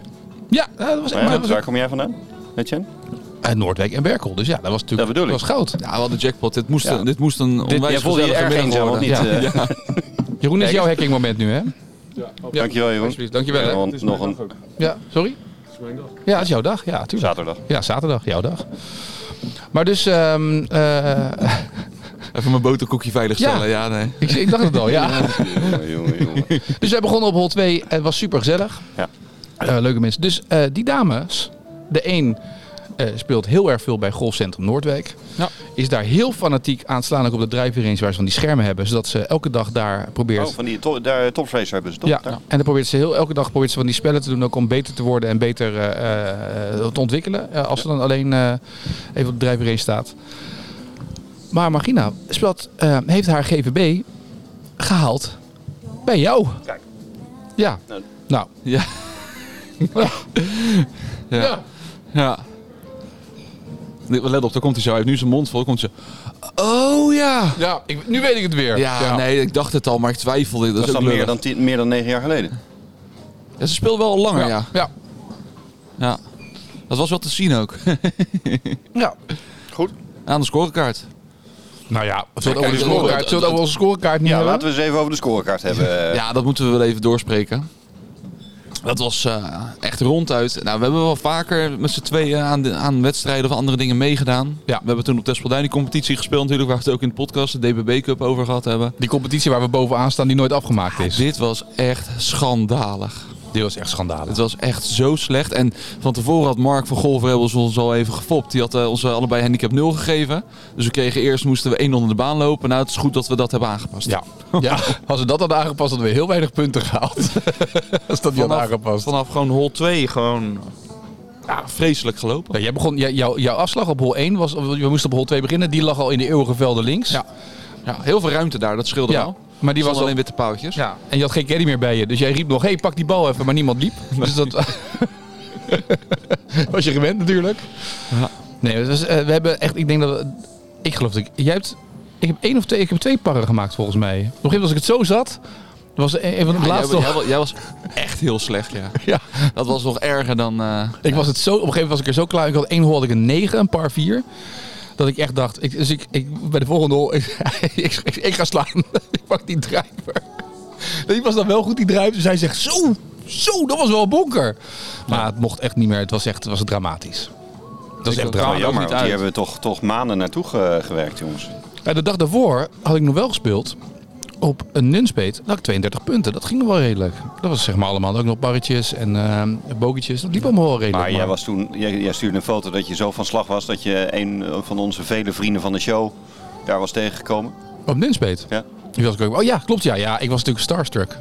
Speaker 1: Ja, eh, dat was echt.
Speaker 3: Maar ja,
Speaker 1: maar dat was
Speaker 3: waar kom jij vandaan? Etienne?
Speaker 1: ook- uit Noordwijk en Berkel. Dus ja, dat was natuurlijk
Speaker 3: Dat bedoel ik.
Speaker 1: was goud.
Speaker 2: Ja, we hadden jackpot. Dit moest,
Speaker 1: Ja.
Speaker 2: een- dit moest een
Speaker 3: Dit, jij
Speaker 2: onwijs
Speaker 3: voelde je
Speaker 2: gezellige
Speaker 3: erg
Speaker 2: middag
Speaker 3: eenzaam, of
Speaker 2: worden.
Speaker 3: niet?
Speaker 1: Ja.
Speaker 3: eh?
Speaker 2: Ja.
Speaker 1: Jeroen, is jouw hackingmoment nu, hè?
Speaker 3: Dankjewel, Jeroen.
Speaker 1: Alsjeblieft, dankjewel. hè?
Speaker 3: Want nog een
Speaker 1: Ja, sorry? Ja, het is jouw dag. Ja, tuurlijk.
Speaker 3: zaterdag.
Speaker 1: Ja, zaterdag, jouw dag. Maar dus, ehm, eh,
Speaker 2: Even mijn boterkoekje veiligstellen. Ja, nee.
Speaker 1: ik, ik dacht het al, ja.
Speaker 3: Jongen, jongen, jongen.
Speaker 1: Dus wij begonnen op hol 2. Het was super gezellig.
Speaker 3: Ja.
Speaker 1: leuke mensen. Dus eh, die dames, de een eh, speelt heel erg veel bij Golfcentrum Noordwijk.
Speaker 2: Ja.
Speaker 1: Is daar heel fanatiek aan het slaan ook op de drijfveer eens waar ze van die schermen hebben. Zodat ze elke dag daar probeert.
Speaker 3: Oh, van die to daar, topfrace hebben ze toch?
Speaker 1: ja,
Speaker 3: Daar?
Speaker 1: en dan probeert ze heel elke dag probeert ze van die spellen te doen ook om beter te worden en beter eh, eh, te ontwikkelen. eh, als ze dan alleen eh, even op de drijfveer eens staat. Maar Margina speelt, eh, heeft haar GVB gehaald bij jou.
Speaker 3: Kijk.
Speaker 1: Ja.
Speaker 3: Nou.
Speaker 1: Nou.
Speaker 2: Ja. ja. ja. Nee, Let op, daar komt hij zo uit. Nu is zijn mond vol. Komt ze. Oh ja.
Speaker 1: Ja, ik, nu weet ik het weer.
Speaker 2: ja. nee, ik dacht het al, maar ik twijfelde. Dat,
Speaker 3: Dat
Speaker 2: is
Speaker 3: is
Speaker 2: ook
Speaker 3: dan meer
Speaker 2: lullig.
Speaker 3: dan, tien- meer dan negen jaar geleden.
Speaker 2: Ja, ze speelde wel al langer,
Speaker 1: ja.
Speaker 2: ja.
Speaker 1: ja.
Speaker 2: ja. Dat was wel te zien ook.
Speaker 1: Ja.
Speaker 3: Goed.
Speaker 2: Aan de scorekaart.
Speaker 1: Nou ja, we zullen
Speaker 2: Ja,
Speaker 1: over
Speaker 2: kijk,
Speaker 1: de
Speaker 2: dat-
Speaker 1: scorekaart, zullen we het over onze scorekaart niet
Speaker 3: Ja,
Speaker 1: hebben?
Speaker 3: laten we eens even over de scorekaart hebben.
Speaker 2: Eh, Ja, dat moeten we wel even doorspreken. Dat was eh, echt ronduit. Nou, we hebben wel vaker met z'n tweeën aan, de, aan wedstrijden of andere dingen meegedaan.
Speaker 1: Ja.
Speaker 2: We hebben toen op Despelduin die competitie gespeeld natuurlijk, waar we het ook in de podcast, de DBB Cup, over gehad hebben.
Speaker 1: Die competitie waar we bovenaan staan die nooit afgemaakt is.
Speaker 2: Dit was echt schandalig.
Speaker 1: Ah, Dit was echt schandalig.
Speaker 2: Het was echt zo slecht. En van tevoren had Mark van Golfrebels ons al even gefopt. Die had eh, ons allebei handicap 0 gegeven. Dus we kregen eerst, moesten we één onder de baan lopen. Nou, het is goed dat we dat hebben aangepast.
Speaker 1: Ja. ja, als ze dat hadden aangepast, hadden we heel weinig punten gehaald. als dat niet hadden aangepast.
Speaker 2: vanaf gewoon hol 2 gewoon ja, vreselijk gelopen.
Speaker 1: Ja, jij begon, jij- jou, jouw afslag op hol 1 was, of we moesten op hol 2 beginnen, die lag al in de eeuwige velden links.
Speaker 2: Ja. Ja, heel veel ruimte daar, dat scheelde
Speaker 1: Ja,
Speaker 2: wel.
Speaker 1: maar die was al-
Speaker 2: alleen witte paaltjes.
Speaker 1: Ja, en je had geen caddy meer bij je. Dus jij riep nog, hé, hey, pak die bal even. Maar niemand liep. Dus dat was je gewend natuurlijk.
Speaker 2: Ja.
Speaker 1: Nee, het was, eh, we hebben echt, ik denk dat we- Ik geloof dat ik... Jij hebt... Ik heb één of twee, ik heb twee parren gemaakt volgens mij. Op een gegeven moment als ik het zo zat, was er een een van de
Speaker 2: Ja,
Speaker 1: laatste...
Speaker 2: jij, jij- jij was echt heel slecht, ja.
Speaker 1: Ja,
Speaker 2: Dat was nog erger dan... eh,
Speaker 1: ik was het zo, op een gegeven moment was ik er zo klaar. Ik had één hol, had ik een 9, een par 4. Dat ik echt dacht, ik, dus ik, ik bij de volgende hol, ik, ik, ik- ik ga slaan. ik pak die drijver. Die was dan wel goed, die drijver. Dus hij zegt, zo, zo, dat was wel een bonker. Maar het mocht echt niet meer. Het was echt het was dramatisch. Dat was
Speaker 2: Ik
Speaker 1: echt
Speaker 2: kwam er
Speaker 1: dramatisch.
Speaker 2: ook
Speaker 3: Oh, Jammer,
Speaker 2: niet
Speaker 3: want hier
Speaker 2: uit.
Speaker 3: hebben we toch, toch maanden naartoe ge- gewerkt, jongens.
Speaker 1: En de dag daarvoor had ik nog wel gespeeld op een nunspeet. Dan had ik 32 punten. Dat ging nog wel redelijk. Dat was zeg maar allemaal ook nog barretjes en eh bogetjes. Dat liep allemaal wel redelijk.
Speaker 3: Maar jij, was toen, jij, jij stuurde een foto dat je zo van slag was dat je een eh, van onze vele vrienden van de show daar was tegengekomen.
Speaker 1: Op nunspeet.
Speaker 3: Ja.
Speaker 1: Die was ik ook. Oh ja, klopt ja. Ja, ik was natuurlijk starstruck.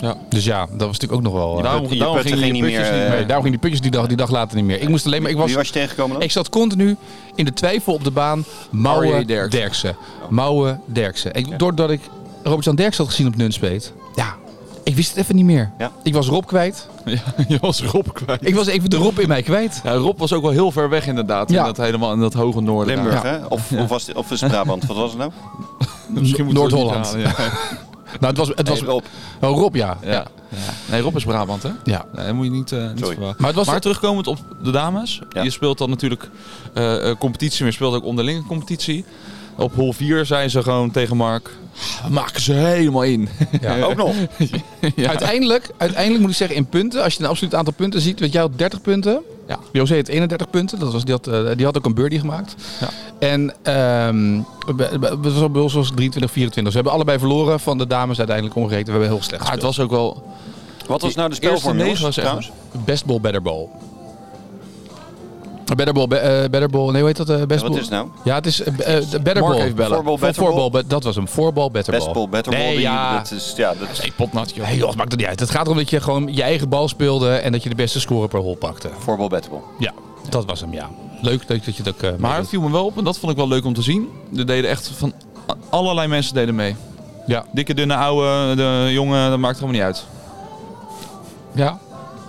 Speaker 2: Ja.
Speaker 1: Dus ja, dat was natuurlijk ook nog wel. eh,
Speaker 3: Ja.
Speaker 2: daarom
Speaker 3: putten- je
Speaker 2: daarom
Speaker 3: putten
Speaker 2: gingen je
Speaker 3: ging niet
Speaker 2: putjes
Speaker 3: meer,
Speaker 2: niet
Speaker 3: eh,
Speaker 1: nee,
Speaker 2: meer.
Speaker 1: daarom ging die putjes die dag, die dag later niet meer. Ik moest alleen maar. Ik was,
Speaker 3: Wie was je tegengekomen dan?
Speaker 1: ik zat continu in de twijfel op de baan. Mouwen
Speaker 2: R.J.
Speaker 1: Derksen.
Speaker 2: Derksen.
Speaker 1: Mouwen Derksen. Ik, doordat ik Robert-Jan Derksen had gezien op Nunspeet. Ja, ik wist het even niet meer.
Speaker 3: Ja.
Speaker 1: Ik was Rob kwijt.
Speaker 2: eh, Ja, je was Rob kwijt.
Speaker 1: Ik was even de Rob in mij kwijt.
Speaker 2: Ja, Rob was ook wel heel ver weg inderdaad.
Speaker 1: Ja.
Speaker 2: In dat helemaal in dat hoge noorden.
Speaker 3: Limburg,
Speaker 1: Ja.
Speaker 3: hè? Of, of, was, het- of is het Brabant? Wat was het nou?
Speaker 2: daar. Dus Misschien moeten we het
Speaker 1: Noord-Holland.
Speaker 2: niet halen, Ja.
Speaker 1: Nou, het was, het was
Speaker 3: Rob.
Speaker 1: Oh, Rob, ja.
Speaker 2: Ja. Ja. Nee, Rob is Brabant hè?
Speaker 1: ja.
Speaker 2: Nee, dat moet je niet, eh niet
Speaker 3: Sorry.
Speaker 2: verwachten.
Speaker 1: Maar het was
Speaker 2: Maar terugkomend op de dames.
Speaker 3: Ja.
Speaker 2: Je speelt dan natuurlijk eh, eh, competitie, maar je speelt ook onderlinge competitie. Op hol 4 zijn ze gewoon tegen Mark. "Ah, We maken ze helemaal in.
Speaker 1: Ja.
Speaker 3: Ook nog.
Speaker 2: Ja.
Speaker 1: Uiteindelijk, uiteindelijk moet ik zeggen, in punten, als je een absoluut aantal punten ziet, want jij had 30 punten.
Speaker 2: Ja.
Speaker 1: José had 31 punten, dat was, die, had, eh, die had ook een birdie gemaakt.
Speaker 2: Ja.
Speaker 1: En ehm bij- bij- het was bij ons was het 23, 24. Ze hebben allebei verloren van de dames uiteindelijk omgerekend. We hebben heel slecht
Speaker 2: Ah, het
Speaker 1: gespeeld.
Speaker 2: was ook wel.
Speaker 3: Wat was nou de
Speaker 2: Eerste
Speaker 3: spelvorm,
Speaker 2: negen
Speaker 3: jongens,
Speaker 2: was echt-
Speaker 3: trouwens?
Speaker 1: Best ball, better ball. Better ball, be- eh, better ball. Nee, hoe heet dat? eh, best
Speaker 3: Ja, wat
Speaker 1: ball.
Speaker 3: is het nou?
Speaker 1: Ja, het is eh, be- eh, de better
Speaker 2: Mark
Speaker 1: ball.
Speaker 2: heeft bellen.
Speaker 1: Voorbal,
Speaker 3: Voorbal, better
Speaker 1: Voorbal, be- dat was hem. Voorbal, better ball.
Speaker 3: Best ball, better
Speaker 1: Nee,
Speaker 3: ball. die-
Speaker 1: ja.
Speaker 3: Dat is, ja, dat is
Speaker 2: Ik potnat, joh.
Speaker 1: Hey, joh, maakt het niet uit. Het gaat erom dat je gewoon je eigen bal speelde en dat je de beste score per hol pakte.
Speaker 3: voorbal, better ball.
Speaker 1: Ja, dat was hem, ja. Leuk, leuk dat je dat ook... eh,
Speaker 2: Maar het
Speaker 1: meedoet.
Speaker 2: viel me wel op en dat vond ik wel leuk om te zien. Er deden echt van allerlei mensen deden mee.
Speaker 1: Ja.
Speaker 2: Dikke, dunne, oude, de jongen, dat maakt helemaal niet uit.
Speaker 1: ja.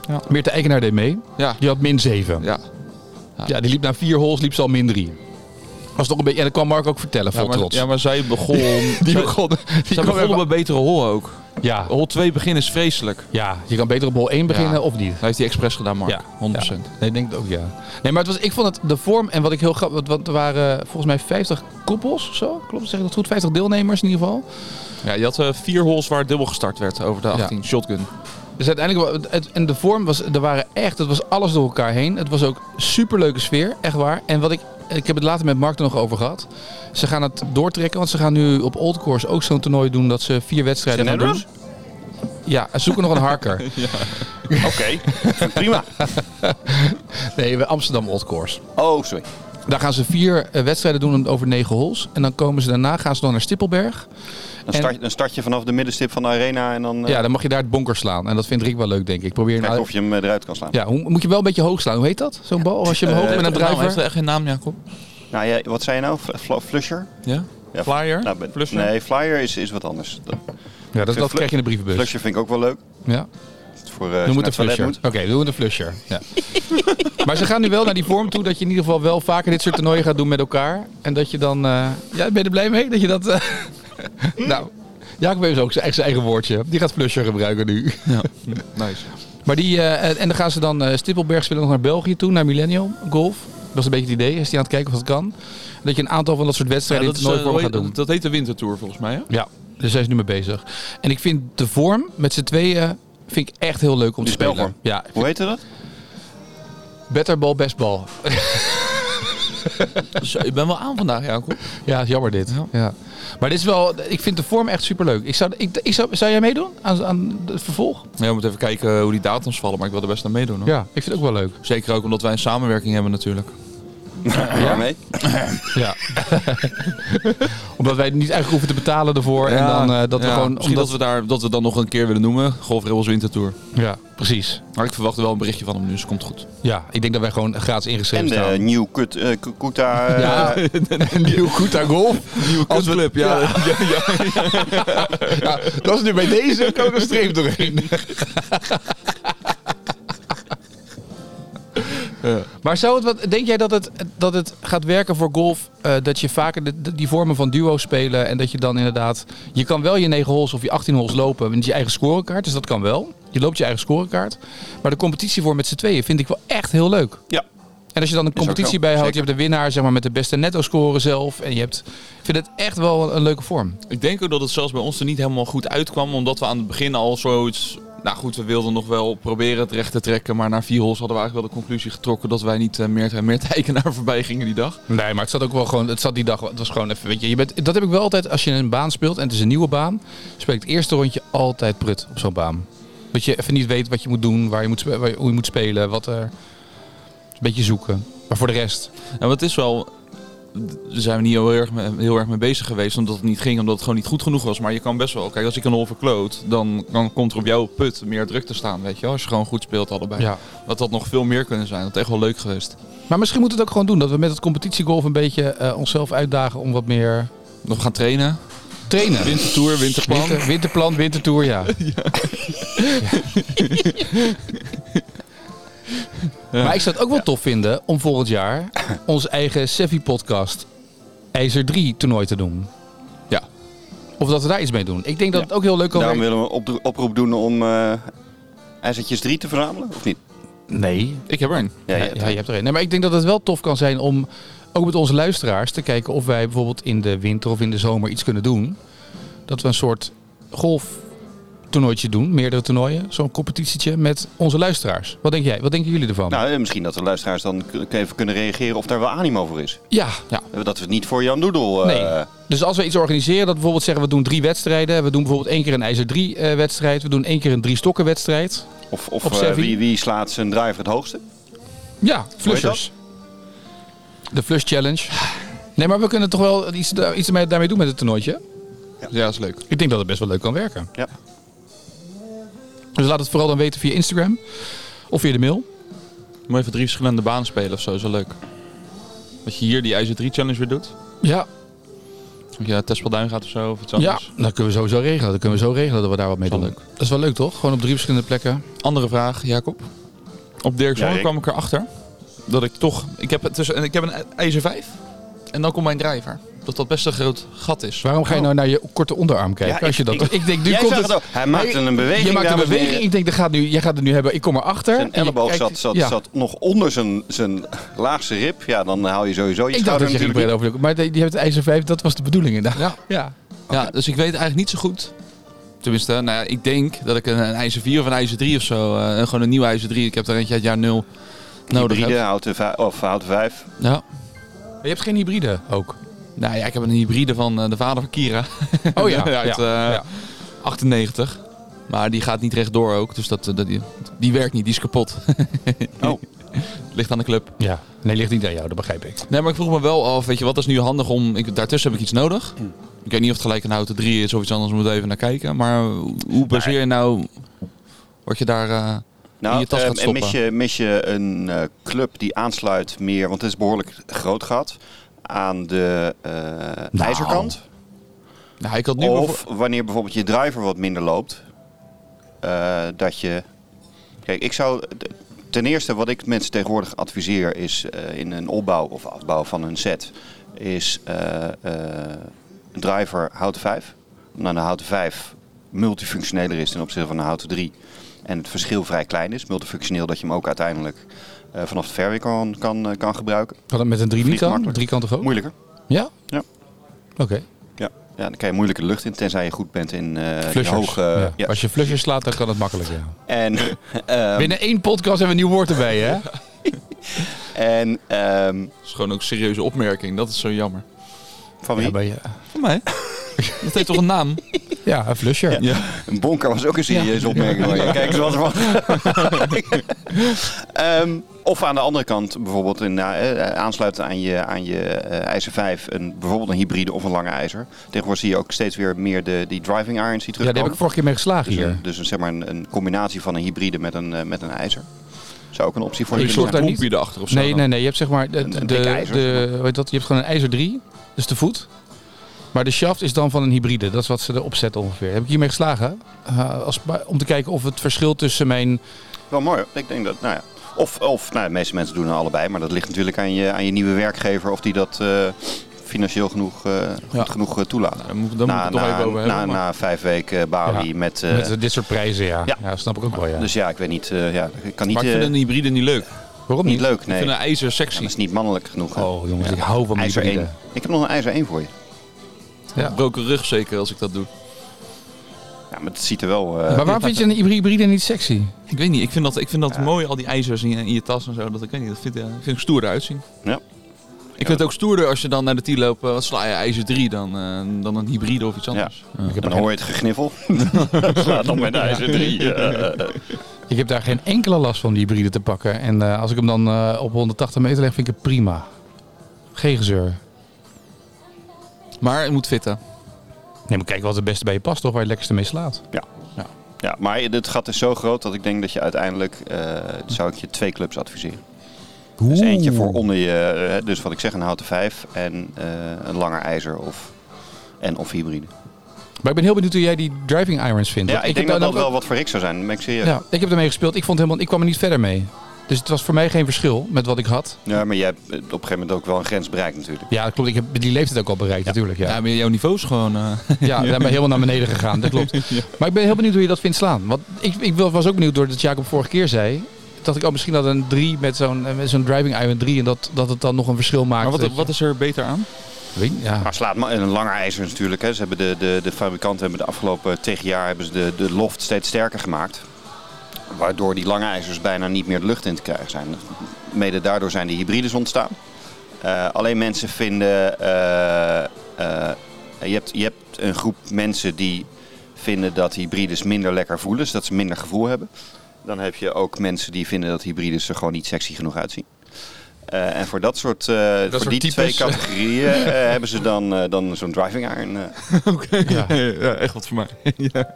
Speaker 2: Ja.
Speaker 1: Meerte Eikenaar deed mee.
Speaker 2: Ja,
Speaker 1: Die had min 7. Ja,
Speaker 2: ja.
Speaker 1: die liep na vier holes, liep ze al min 3. Was toch een beetje... En dat kwam Mark ook vertellen,
Speaker 2: ja,
Speaker 1: vol
Speaker 2: maar,
Speaker 1: trots.
Speaker 2: ja maar zij begon.
Speaker 1: die
Speaker 2: zij,
Speaker 1: begon... Die
Speaker 2: zij
Speaker 1: kwam
Speaker 2: begonnen
Speaker 1: even-
Speaker 2: bij betere hol ook.
Speaker 1: Ja,
Speaker 2: Hol 2 beginnen is vreselijk.
Speaker 1: ja, je kan beter op hol 1 beginnen
Speaker 2: Oh. Ja.
Speaker 1: of niet.
Speaker 2: Dat heeft hij expres gedaan, Mark.
Speaker 1: Ja.
Speaker 2: 100%.
Speaker 1: Nee, ik denk het ook ja. Nee, maar het was, ik vond het de vorm en wat ik heel grappig. want- Want er waren volgens mij 50 koppels of zo. Klopt, zeg ik dat goed? 50 deelnemers in ieder geval.
Speaker 2: Ja, je had eh, vier holes waar dubbel gestart werd over de 18. Shotgun.
Speaker 1: Dus uiteindelijk, wa- het, en de vorm was, er waren echt, het was alles door elkaar heen. Het was ook superleuke sfeer, echt waar. En wat ik, ik heb het later met Mark er nog over gehad. Ze gaan het doortrekken, want ze gaan nu op Old Course ook zo'n toernooi doen dat ze vier wedstrijden gaan doen.
Speaker 3: Shenandoah?
Speaker 1: Ja, ze zoeken nog een harker.
Speaker 3: Oké, prima.
Speaker 1: Nee, we- Amsterdam Old Course.
Speaker 3: Oh, sorry.
Speaker 1: Daar gaan ze vier eh, wedstrijden doen over negen holes. En dan komen ze daarna, gaan ze dan naar Stippelberg.
Speaker 3: Dan
Speaker 1: En-
Speaker 3: start, dan start je vanaf de middenstip van de arena en dan eh,
Speaker 1: Ja, dan mag je daar het bonker slaan. En dat vindt Rick wel leuk, denk ik. Probeer
Speaker 3: kijken
Speaker 1: nou,
Speaker 3: of je hem eh, eruit kan slaan.
Speaker 1: ja, hoe, moet je wel een beetje hoog slaan. Hoe heet dat? Zo'n bal? Als je hem
Speaker 3: Eh,
Speaker 1: hoog met een
Speaker 2: Naam, heeft
Speaker 1: driver...
Speaker 2: hij echt geen naam, Jacob?
Speaker 3: Nou, ja, wat zei je nou? Fl- fl- flusher?
Speaker 2: Ja?
Speaker 3: Ja,
Speaker 2: Flyer?
Speaker 3: Nou, ben-
Speaker 2: Flusher?
Speaker 3: Nee, flyer is, is wat anders. Dat,
Speaker 1: Ja, dat, dat krijg je in de brievenbus.
Speaker 3: Flusher vind ik ook wel leuk.
Speaker 1: Ja.
Speaker 3: Voor, eh, als je
Speaker 1: Noem het een
Speaker 3: naar het toilet
Speaker 1: flusher.
Speaker 3: moet.
Speaker 1: Oké, doen we een flusher. Ja. maar ze gaan nu wel naar die vorm toe dat je in ieder geval wel vaker dit soort toernooien gaat doen met elkaar. En dat je dan... eh, ja, ben je er blij mee dat je dat... eh, nou, Jacob heeft ook zijn, zijn eigen woordje. Die gaat flusher gebruiken nu.
Speaker 2: Nice.
Speaker 1: Maar die, eh, en- en dan gaan ze dan eh Stippelberg spelen nog naar België toe, naar Millennium Golf. Dat is een beetje het idee. Is die aan het kijken of dat kan. Dat je een aantal van dat soort
Speaker 2: Ja,
Speaker 1: wedstrijden
Speaker 2: dat,
Speaker 1: in
Speaker 2: is,
Speaker 1: het toernooi
Speaker 2: eh,
Speaker 1: voor gaat doen.
Speaker 2: dat- dat heet de wintertour volgens mij, hè?
Speaker 1: Ja, daar zijn ze nu mee bezig. En ik vind de vorm met z'n tweeën vind ik echt heel leuk om
Speaker 3: Die
Speaker 1: te spelen.
Speaker 3: spelvorm.
Speaker 1: Ja,
Speaker 3: Hoe heette dat?
Speaker 1: better ball, best ball.
Speaker 2: Zo, Dus, eh, ik ben wel aan vandaag, Jacob.
Speaker 1: Ja, is jammer dit. Ja.
Speaker 2: Ja.
Speaker 1: Maar dit is wel, ik vind de vorm echt superleuk. Ik zou, ik, ik zou, zou jij meedoen aan, aan het vervolg?
Speaker 2: Ja, we moeten even kijken eh, hoe die datums vallen, maar ik wil er best aan meedoen. hoor.
Speaker 1: Ja, ik vind het ook wel leuk.
Speaker 2: Zeker ook omdat wij een samenwerking hebben natuurlijk.
Speaker 3: Waarmee?
Speaker 1: Ja. Omdat wij niet eigenlijk hoeven te betalen ervoor. en dan eh, dat we
Speaker 2: Ja,
Speaker 1: gewoon...
Speaker 2: Misschien
Speaker 1: Omdat,
Speaker 2: dat we daar dat we dan nog een keer willen noemen. Golf Rebels Wintertour.
Speaker 1: Ja, precies.
Speaker 2: Maar ik verwacht wel een berichtje van hem nu, dus het komt goed.
Speaker 1: Ja, ik denk dat wij gewoon gratis
Speaker 3: En
Speaker 1: ingeschreven
Speaker 3: de
Speaker 1: staan.
Speaker 3: New Kut, eh, Ku- Kuta. eh,
Speaker 1: Ja, een nieuw Kuta Golf.
Speaker 2: Nieuwe
Speaker 1: Als we-
Speaker 2: kutclub, ja. ja.
Speaker 1: Ja, dat is nu bij deze kan ik een streep doorheen. Maar zou het wat, denk jij dat het, dat het gaat werken voor golf? eh, dat je vaker de- de- die vormen van duo spelen en dat je dan inderdaad... Je kan wel je 9 holes of je 18 holes lopen met je eigen scorekaart, dus dat kan wel. Je loopt je eigen scorekaart. Maar de competitie voor met z'n tweeën vind ik wel echt heel leuk.
Speaker 3: ja.
Speaker 1: En als je dan een
Speaker 3: ook
Speaker 1: competitie
Speaker 3: zo,
Speaker 1: bijhoudt, je
Speaker 3: zeker.
Speaker 1: hebt de winnaar zeg maar, met de beste netto scoren zelf. En je hebt, ik vind het echt wel een leuke vorm.
Speaker 2: Ik denk ook dat het zelfs bij ons er niet helemaal goed uitkwam, omdat we aan het begin al zoiets... Nou goed, we wilden nog wel proberen het recht te trekken, maar na vier holes hadden we eigenlijk wel de conclusie getrokken dat wij niet eh, Meert en Meert Eikenaar voorbij gingen die dag.
Speaker 1: Nee, maar het zat ook wel gewoon. Het zat die dag. wel- Het was gewoon even. Weet je, je bent, dat heb ik wel altijd. Als je een baan speelt en het is een nieuwe baan. speel ik het eerste rondje altijd prut op zo'n baan. Dat je even niet weet wat je moet doen. Waar je moet, spe- waar je- hoe je moet spelen. Wat er. Een beetje zoeken. Maar voor de rest.
Speaker 2: Ja, maar het is wel... Daar zijn we niet heel erg, mee, heel erg mee bezig geweest, omdat het niet ging, omdat het gewoon niet goed genoeg was. Maar je kan best wel... Kijk, als ik een hol verkloot, dan, dan komt er op jouw put meer druk te staan, weet je wel. Als je gewoon goed speelt allebei.
Speaker 1: Ja.
Speaker 2: Dat dat nog veel meer kunnen zijn. Dat is echt wel leuk geweest.
Speaker 1: Maar misschien moet het ook gewoon doen. Dat we met het competitiegolf een beetje eh, onszelf uitdagen om wat meer
Speaker 2: Nog gaan trainen.
Speaker 1: trainen.
Speaker 2: Wintertour, winterplan.
Speaker 1: Winter, winterplan, wintertour, ja. Ja. Maar ik zou het ook wel tof vinden om volgend jaar ons eigen Sevi-podcast IJzer 3 toernooi te doen.
Speaker 2: Ja.
Speaker 1: Of dat we daar iets mee doen. Ik denk dat het ook heel leuk kan
Speaker 3: Daarom
Speaker 1: werken.
Speaker 3: willen we een oproep doen om eh ijzertjes 3 te verzamelen, of niet?
Speaker 1: Nee.
Speaker 2: Ik heb er een.
Speaker 3: Ja, ja,
Speaker 1: Ja, je hebt er een. Nee, maar ik denk dat het wel tof kan zijn om ook met onze luisteraars te kijken of wij bijvoorbeeld in de winter of in de zomer iets kunnen doen. Dat we een soort golftoernooitje doen, meerdere toernooien, zo'n competitietje met onze luisteraars. Wat denk jij? Wat denken jullie ervan?
Speaker 3: Nou, eh, misschien dat de luisteraars dan k- even kunnen reageren of daar wel animo voor is. Eh,
Speaker 1: ja, ja.
Speaker 3: Dat we het niet voor Jan Doedel... eh,
Speaker 1: Nee. Dus als we iets organiseren, dat we bijvoorbeeld zeggen we doen drie wedstrijden. We doen bijvoorbeeld één keer een ijzer 3 eh, wedstrijd. We doen één keer een drie stokken wedstrijd.
Speaker 3: Of, of
Speaker 1: Op
Speaker 3: eh,
Speaker 1: Sevi.
Speaker 3: wie, wie slaat zijn driver het hoogste?
Speaker 1: Ja, flushers. De flush challenge. Nee, maar we kunnen toch wel iets, daar- iets ermee- daarmee doen met het toernooitje.
Speaker 2: Ja, dat is leuk.
Speaker 1: Ik denk dat het best wel leuk kan werken.
Speaker 3: Ja.
Speaker 1: Dus laat het vooral dan weten via Instagram of via de mail.
Speaker 2: Moet even drie verschillende banen spelen of zo, is wel leuk. Dat je hier die IJzer 3 Challenge weer doet.
Speaker 1: Ja,
Speaker 2: Dat je naar Tespelduin gaat of zo, of iets
Speaker 1: ja.
Speaker 2: anders.
Speaker 1: dat kunnen we sowieso regelen. Dat kunnen we zo regelen dat we daar wat mee
Speaker 2: Is wel
Speaker 1: doen. Dat is wel leuk toch? Gewoon op drie verschillende plekken.
Speaker 2: Andere vraag, Jacob. Op Dirk Zomer
Speaker 3: Ja, Rick.
Speaker 2: kwam ik erachter dat ik toch... Ik heb, het tussen, en ik heb een IJzer 5 en dan komt mijn driver. dat dat best een groot gat is.
Speaker 1: Waarom ga je nou naar je korte onderarm kijken?
Speaker 3: Ja,
Speaker 1: als je
Speaker 3: ik-
Speaker 1: dat, ik,
Speaker 3: ik-
Speaker 1: denk, nu
Speaker 3: Jij
Speaker 1: komt
Speaker 3: zag
Speaker 1: het.
Speaker 3: het ook. Hij maakte een beweging.
Speaker 1: Je maakt een
Speaker 3: dames en heren.
Speaker 1: beweging. Ik denk, dat gaat nu, jij gaat het nu hebben. Ik kom erachter.
Speaker 3: Zijn
Speaker 1: En ik
Speaker 3: elleboog
Speaker 1: kijk-
Speaker 3: zat, zat,
Speaker 1: ja.
Speaker 3: zat nog onder zijn, zijn laagste rib. Ja, dan haal je sowieso je
Speaker 1: Ik dacht
Speaker 3: schouder
Speaker 1: dat je ging
Speaker 3: natuurlijk.
Speaker 1: brillen over. de- Maar die, die heeft het ijzer 5. Dat was de bedoeling inderdaad.
Speaker 2: Ja.
Speaker 1: Ja.
Speaker 2: Ja, dus ik weet eigenlijk niet zo goed. Tenminste, nou ja, ik denk dat ik een, een ijzer 4 of een ijzer 3 of zo, eh, gewoon een nieuw ijzer 3. Ik heb er eentje uit jaar 0 nodig.
Speaker 3: Hybride
Speaker 2: heb.
Speaker 3: houten vijf, of houten vijf.
Speaker 2: Ja.
Speaker 1: Maar je hebt geen hybride ook.
Speaker 2: Nou ja, ik heb een hybride van eh, de vader van Kira.
Speaker 1: Oh ja.
Speaker 2: uit
Speaker 1: ja.
Speaker 2: eh,
Speaker 1: ja.
Speaker 2: 98. Maar die gaat niet rechtdoor ook, dus dat, eh, dat, die, die werkt niet, die is kapot.
Speaker 3: Oh.
Speaker 2: Ligt aan de club.
Speaker 1: Ja. Nee, ligt niet aan jou. Dat begrijp ik.
Speaker 2: Nee, maar ik vroeg me wel af, weet je, wat is nu handig om... Ik, daartussen heb ik iets nodig. Ik weet niet of het gelijk een houten 3 is of iets anders, we moeten even naar kijken. Maar hoe- hoe baseer je nou wat je daar... eh, in je tas
Speaker 3: ehm,
Speaker 2: gaat
Speaker 3: en mis
Speaker 2: stoppen.
Speaker 3: je, mis je een eh, club die aansluit meer, want het is behoorlijk groot gat, aan de eh, ijzerkant.
Speaker 2: nou, ik had nu bijvoorbeeld-
Speaker 3: Of wanneer bijvoorbeeld je driver wat minder loopt, eh, dat je... Kijk, ik zou... d- Ten eerste wat ik mensen tegenwoordig adviseer is eh, in een opbouw of afbouw van een set, is eh, eh, een driver houten 5. Omdat een houten 5 multifunctioneler is ten opzichte van een houten 3. En het verschil vrij klein is, multifunctioneel, dat je hem ook uiteindelijk eh, vanaf de fairway kan, kan, eh, kan gebruiken.
Speaker 1: Kan dat met een 3 niet
Speaker 3: Vliegt
Speaker 1: dan?
Speaker 3: makkelijk.
Speaker 1: Driekantig ook?
Speaker 3: Moeilijker.
Speaker 1: Ja?
Speaker 3: Ja.
Speaker 1: Oké.
Speaker 3: Ja. ja, dan kan je moeilijker lucht in, tenzij je goed bent in eh die
Speaker 1: Flushers.
Speaker 3: hoge...
Speaker 1: Ja.
Speaker 3: ja.
Speaker 1: Als je flushers slaat, dan kan het makkelijk. Ja.
Speaker 3: En, ehm,
Speaker 1: Binnen één podcast hebben we een nieuw woord erbij, hè?
Speaker 3: en ehm,
Speaker 2: Dat is gewoon ook een serieuze opmerking. Dat is zo jammer.
Speaker 3: van wie?
Speaker 1: Ja, maar je-
Speaker 2: Voor mij. Dat heeft toch een naam?
Speaker 1: ja, een flusher.
Speaker 3: Ja. Een bonker was ook een serieuze opmerking. hoor. Ja, Kijk eens wat er Ehm, of aan de andere kant bijvoorbeeld een, eh, eh, aansluiten aan je, aan je eh, ijzer 5, een, bijvoorbeeld een hybride of een lange ijzer. Tegenwoordig zie je ook steeds weer meer de, die driving irons
Speaker 1: Ja,
Speaker 3: die terugkomen.
Speaker 1: daar heb ik vorige keer mee geslagen
Speaker 3: dus
Speaker 1: hier.
Speaker 3: een, dus een, zeg maar een, een combinatie van een hybride met een, eh, met een ijzer. Zou ook een optie voor
Speaker 1: Ik
Speaker 3: je
Speaker 1: zorg
Speaker 3: kunnen
Speaker 1: daar
Speaker 3: zijn.
Speaker 1: niet-
Speaker 2: Poempje erachter of zo.
Speaker 1: Nee,
Speaker 2: dan.
Speaker 1: nee, nee. Je hebt zeg maar de,
Speaker 3: Een-
Speaker 1: de,
Speaker 3: een dikke ijzer,
Speaker 1: de- hoe heet dat? Je hebt gewoon een ijzer 3, dus de voet. Maar de shaft is dan van een hybride. Dat is wat ze erop zetten ongeveer. Heb ik hiermee geslagen? Eh, als, maar om te kijken of het verschil tussen mijn...
Speaker 3: Wel mooi. hoor. Ik denk dat, nou ja. Of, of nou, de meeste mensen doen het allebei, maar dat ligt natuurlijk aan je, aan je nieuwe werkgever of die dat eh, financieel genoeg, eh, goed genoeg eh, toelaat.
Speaker 2: Dan moet, dan moet ik
Speaker 3: na,
Speaker 2: het toch
Speaker 3: na-
Speaker 2: even over
Speaker 3: na-
Speaker 2: hebben. maar-
Speaker 3: na vijf weken Bali met... eh,
Speaker 1: met dit soort prijzen, ja. ja.
Speaker 3: ja.
Speaker 1: snap ik ook wel, ja.
Speaker 3: Dus ja, ik weet niet. eh, ja, ik kan niet,
Speaker 2: Maar ik
Speaker 3: eh,
Speaker 2: vind een hybride niet leuk.
Speaker 1: Waarom
Speaker 3: niet
Speaker 1: niet?
Speaker 3: leuk,
Speaker 2: Ik
Speaker 3: nee.
Speaker 2: vind een ijzer
Speaker 3: Ja, dat
Speaker 2: sexy.
Speaker 3: is niet mannelijk genoeg. hè.
Speaker 1: Oh jongens, ik hou van mijn
Speaker 3: ijzer 1.
Speaker 1: hybride.
Speaker 3: Ik heb nog een ijzer 1 voor je.
Speaker 1: Ja.
Speaker 2: Broken rug zeker als ik dat doe.
Speaker 3: Ja, maar het ziet er wel... eh,
Speaker 1: Maar waarom vind je een hybride niet sexy?
Speaker 2: Ik weet niet. Ik vind dat, ik vind dat
Speaker 3: Ja.
Speaker 2: mooi, al die ijzers in je, in je tas en zo. Dat, ik weet niet, dat vind, eh, vind ik stoer eruit zien.
Speaker 3: ja.
Speaker 2: Ik vind het ook stoerder als je dan naar de tee loopt. eh, wat sla je ijzer 3 dan, eh, dan een hybride of iets anders. Ja.
Speaker 1: Ik heb, er
Speaker 3: Dan
Speaker 1: geen-
Speaker 3: hoor je het gegniffel. Dat slaat op met ijzer eh, 3.
Speaker 1: ik heb daar geen enkele last van, die hybride te pakken. En eh, als ik hem dan eh, op 180 meter leg, vind ik het prima. Geen gezeur.
Speaker 2: Maar het moet fitten.
Speaker 1: Nee, maar kijk wat het beste bij je past, toch? Waar je het lekkerste mee slaat.
Speaker 3: ja, maar het gat is zo groot dat ik denk dat je uiteindelijk... eh, zou ik je twee clubs adviseren. Dus eentje voor onder je... eh, dus wat ik zeg, een houten 5 en eh, een langer ijzer of... En of hybride.
Speaker 1: Maar ik ben heel benieuwd hoe jij die driving irons vindt.
Speaker 3: Ja,
Speaker 1: Want heb
Speaker 3: ik, denk dat
Speaker 1: daar
Speaker 3: dat
Speaker 1: nou
Speaker 3: wel wat voor Rick zou zijn. Dan ben ik serieus.
Speaker 1: ook- Ja, ik heb ermee gespeeld. Ik, vond helemaal, ik kwam er niet verder mee. Dus het was voor mij geen verschil met wat ik had.
Speaker 3: Ja, maar jij hebt op een gegeven moment ook wel een grens bereikt natuurlijk.
Speaker 1: Ja, dat klopt. Ik heb die leeftijd ook al bereikt natuurlijk.
Speaker 2: Ja,
Speaker 1: Ja,
Speaker 2: maar jouw niveau is gewoon... eh,
Speaker 1: ja, daar ben ik helemaal naar beneden gegaan. Dat klopt. Maar ik ben heel benieuwd hoe je dat vindt slaan. Want ik, ik wel- was ook benieuwd door dat Jacob vorige keer zei... dat ik al misschien had een 3 met zo'n eh, met zo'n driving iron 3... en dat, dat het dan nog een verschil maakt.
Speaker 2: maar wat,
Speaker 1: dat
Speaker 2: wat
Speaker 1: je-
Speaker 2: is er beter aan?
Speaker 1: Weet- ja.
Speaker 3: Maar slaat ma- en een langer ijzer natuurlijk. Hè. Ze hebben de, de, de fabrikanten hebben de afgelopen eh, tegen jaar hebben ze de, de loft steeds sterker gemaakt. Waardoor die lange ijzers bijna niet meer de lucht in te krijgen zijn. Mede daardoor zijn de hybrides ontstaan. Eh, alleen mensen vinden. eh, eh, je, hebt, je hebt een groep mensen die vinden dat hybrides minder lekker voelen, dus dat ze minder gevoel hebben. Dan heb je ook mensen die vinden dat hybrides er gewoon niet sexy genoeg uitzien. Eh, en voor dat soort, eh, voor
Speaker 1: soort
Speaker 3: die
Speaker 1: types.
Speaker 3: twee categorieën eh, hebben ze dan, eh, dan zo'n driving iron. eh.
Speaker 2: Oké.
Speaker 1: Ja.
Speaker 2: Ja, echt wat voor mij. ja.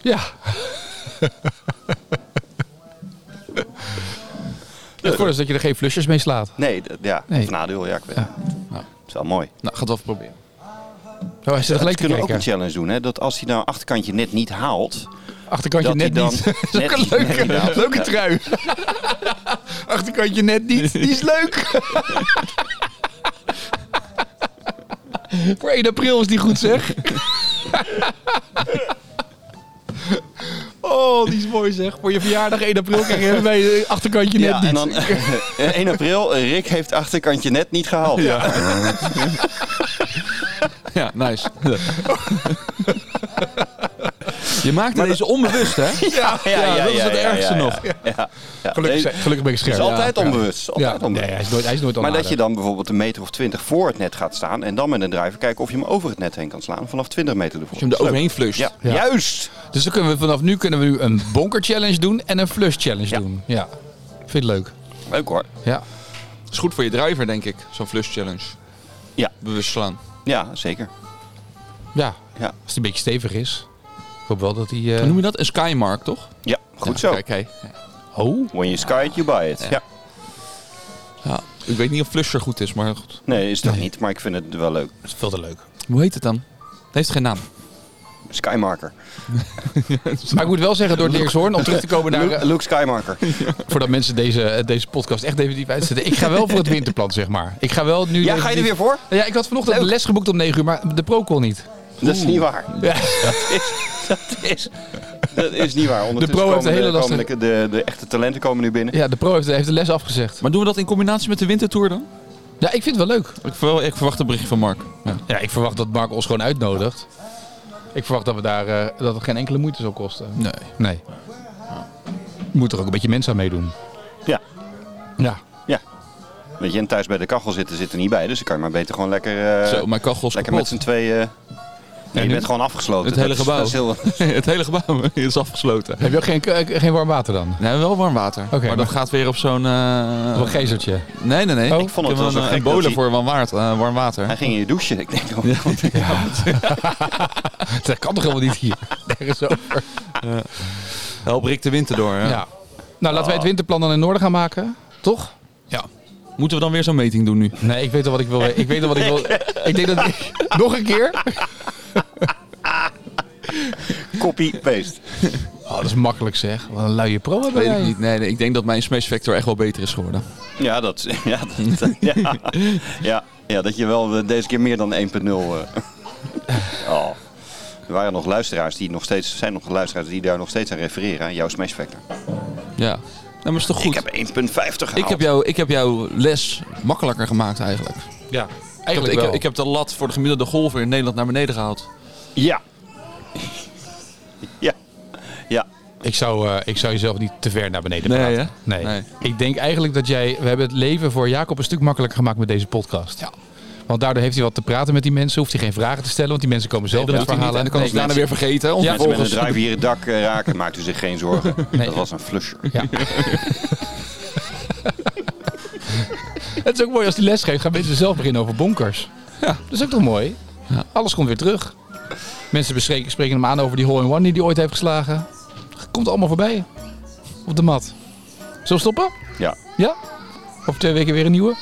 Speaker 1: ja. Ik hoor dus dat je er geen flushers mee slaat.
Speaker 3: Nee, d- ja,
Speaker 1: Nee.
Speaker 3: of nadeel, ja, ik weet.
Speaker 2: Ja.
Speaker 3: Het is wel mooi.
Speaker 2: Nou, gaat wel even proberen.
Speaker 1: Oh, hij zit er
Speaker 3: Ze
Speaker 1: gelijk te
Speaker 3: kunnen ook
Speaker 1: kijken.
Speaker 3: een challenge doen, hè? Dat als hij nou een achterkantje net niet haalt,
Speaker 1: Achterkantje
Speaker 3: Dat
Speaker 1: net
Speaker 3: hij dan
Speaker 1: niet. Dat is
Speaker 3: net
Speaker 1: ook een
Speaker 3: niet- net
Speaker 1: leuke,
Speaker 3: niet haalt.
Speaker 1: leuke
Speaker 3: Ja.
Speaker 1: trui. Achterkantje net niet. Die is leuk. Voor 1 april is die goed, zeg. oh, die is mooi, zeg. Voor je verjaardag 1 april krijg je even bij je achterkantje net
Speaker 3: Ja,
Speaker 1: niet.
Speaker 3: en dan 1 april, eh, Rick heeft achterkantje net niet gehaald.
Speaker 2: Ja, nice. Je maakt het deze onbewust, hè?
Speaker 1: Ja,
Speaker 2: Ja, dat is het ergste
Speaker 3: ja,
Speaker 2: nog.
Speaker 3: Ja, ja. Ja,
Speaker 1: Gelukkig,
Speaker 3: nee,
Speaker 1: zijn- gelukkig ben ik
Speaker 3: Het
Speaker 1: scherp.
Speaker 3: is altijd
Speaker 1: Ja, ja.
Speaker 3: onbewust. het is
Speaker 1: Ja,
Speaker 3: Altijd
Speaker 1: nee,
Speaker 3: onbewust.
Speaker 1: hij is nooit, hij is nooit
Speaker 3: Maar dat
Speaker 1: onaardig.
Speaker 3: je dan bijvoorbeeld een meter of 20 voor het net gaat staan en dan met een drijver kijken of je hem over het net heen kan slaan vanaf 20 meter ervoor.
Speaker 2: Als je hem er
Speaker 3: Dat is leuk.
Speaker 2: overheen flusht.
Speaker 3: Ja, juist.
Speaker 1: Dus dan kunnen we vanaf nu kunnen we nu een bonker challenge doen en een flush challenge
Speaker 3: Ja.
Speaker 1: doen. Ja. Vind je het leuk?
Speaker 3: Leuk hoor.
Speaker 1: Ja.
Speaker 2: is goed voor je driver, denk ik. Zo'n flush challenge.
Speaker 3: Ja.
Speaker 2: Bewust slaan.
Speaker 3: Ja, zeker.
Speaker 1: Ja.
Speaker 3: Ja.
Speaker 1: Als het een beetje stevig is. Ik hoop wel dat hij... eh,
Speaker 2: Hoe noem je dat? Een skymark, toch?
Speaker 3: Ja, goed
Speaker 2: Ja,
Speaker 3: zo.
Speaker 2: Kijk, hey.
Speaker 1: Oh.
Speaker 3: When you sky it, you buy it. Ja.
Speaker 2: Ja. Ik weet niet of flusher goed is, maar goed.
Speaker 3: Nee, is dat niet, maar ik vind het wel leuk.
Speaker 1: Dat is veel te leuk.
Speaker 2: Hoe heet het dan? Het heeft geen naam.
Speaker 3: Skymarker.
Speaker 1: Maar ik moet wel zeggen, door Leershoorn, om terug te komen naar... eh,
Speaker 3: Luke, Luke Skymarker.
Speaker 1: voordat mensen deze, deze podcast echt definitief uitzetten. Ik ga wel voor het winterplan, zeg maar. Ik ga wel nu...
Speaker 3: Ja, ga je er weer voor?
Speaker 1: Ja, ik had vanochtend
Speaker 3: Leuk.
Speaker 1: les geboekt om 9 uur, maar de Procol niet.
Speaker 3: Dat is niet waar.
Speaker 1: Ja.
Speaker 3: Dat is, dat is niet waar. Ondertussen
Speaker 1: pro heeft
Speaker 3: komen
Speaker 1: een hele
Speaker 3: de, komen
Speaker 1: lastige-
Speaker 3: de, de, de echte talenten komen nu binnen.
Speaker 1: Ja, de Pro heeft, heeft de les afgezegd.
Speaker 2: Maar doen we dat in combinatie met de wintertour dan?
Speaker 1: Ja, ik vind het wel leuk.
Speaker 2: Ik, verwel- ik verwacht een berichtje van Mark. Ja.
Speaker 1: Ja, ik verwacht dat Mark ons gewoon uitnodigt. Ik verwacht dat, we daar, eh, dat het geen enkele moeite zal kosten.
Speaker 2: Nee.
Speaker 1: Nee. Moet er ook een beetje mensen aan meedoen.
Speaker 3: Ja.
Speaker 1: Ja.
Speaker 3: Ja. Weet je, en thuis bij de kachel zitten zit er niet bij, dus dan kan je maar beter gewoon lekker, eh,
Speaker 2: Zo, mijn kachel is
Speaker 3: lekker met
Speaker 2: kapot.
Speaker 3: z'n tweeën. eh, nee, je
Speaker 1: nu?
Speaker 3: bent gewoon afgesloten.
Speaker 2: Het hele
Speaker 3: Dat is-
Speaker 2: gebouw.
Speaker 3: dat is heel-
Speaker 2: het hele gebouw is afgesloten.
Speaker 1: Heb je ook geen, eh, geen warm water dan?
Speaker 2: Nee, wel warm water.
Speaker 1: Oké,
Speaker 2: maar dat gaat weer op zo'n... eh,
Speaker 1: Of een gezertje?
Speaker 2: Nee, nee, nee.
Speaker 1: Oh.
Speaker 2: Ik
Speaker 1: Ik
Speaker 3: vond het
Speaker 2: heb
Speaker 3: wel zo
Speaker 2: een,
Speaker 3: gek
Speaker 2: een bolen
Speaker 3: dat hij-
Speaker 2: voor warm water. eh, warm
Speaker 3: Hij
Speaker 2: water.
Speaker 3: ging in je douchen. Ik denk, oh,
Speaker 1: Dat kan toch helemaal niet hier? Nergens over.
Speaker 2: Help Rick de winter door. hè?
Speaker 1: Ja. Nou, laten wij het winterplan dan in orde gaan maken. Toch? Ja.
Speaker 2: Moeten we dan weer zo'n meting doen nu?
Speaker 1: Nee, ik weet al wat ik wil. we- Ik weet al wat ik wil. Ik denk dat ik... Nog een keer?
Speaker 3: copy-paste.
Speaker 1: Oh, dat is makkelijk zeg. Wat een luie pro hebben
Speaker 2: Weet
Speaker 1: jij.
Speaker 2: ik niet. Nee, nee, ik denk dat mijn smash factor echt wel beter is geworden.
Speaker 3: Ja, dat, ja, dat, ja, ja, ja, dat je wel eh, deze keer meer dan 1.0... eh, oh. Er waren nog luisteraars die nog steeds, zijn nog luisteraars die daar nog steeds aan refereren, aan jouw Smash Factor.
Speaker 2: Ja. Nou, maar is toch goed?
Speaker 3: Ik heb 1.50 gehaald.
Speaker 2: Ik heb, jou, ik heb jouw les makkelijker gemaakt eigenlijk.
Speaker 1: Ja.
Speaker 2: Ik heb,
Speaker 1: Eigenlijk
Speaker 2: ik,
Speaker 1: wel.
Speaker 2: heb, ik heb de lat voor de gemiddelde golfer in Nederland naar beneden gehaald.
Speaker 3: Ja. ja. Ja.
Speaker 1: Ik zou, eh, ik zou jezelf niet te ver naar beneden
Speaker 2: Nee,
Speaker 1: praten.
Speaker 2: hè?
Speaker 1: Nee.
Speaker 2: Nee.
Speaker 1: Ik denk eigenlijk dat jij... We hebben het leven voor Jacob een stuk makkelijker gemaakt met deze podcast.
Speaker 2: Ja.
Speaker 1: Want daardoor heeft hij wat te praten met die mensen. Hoeft hij geen vragen te stellen. Want die mensen komen zelf
Speaker 2: Dat
Speaker 1: met
Speaker 2: doet hij niet.
Speaker 1: verhalen.
Speaker 2: En dan kan
Speaker 1: Nee,
Speaker 2: ons daarna weer vergeten. Of
Speaker 1: Ja,
Speaker 3: Mensen met een
Speaker 2: vervolgens...
Speaker 3: drive hier het dak eh, raken, maakt u zich geen zorgen.
Speaker 1: Nee.
Speaker 3: Dat was een flusher.
Speaker 1: Ja. het is ook mooi als die les geeft, gaan mensen zelf beginnen over bonkers. Ja. Dat is ook toch mooi? Alles komt weer terug. Mensen bespreken, spreken hem aan over die hole-in-one die hij ooit heeft geslagen. Komt allemaal voorbij. Op de mat. Zullen we stoppen?
Speaker 3: Ja.
Speaker 1: Ja? Over twee weken weer een nieuwe?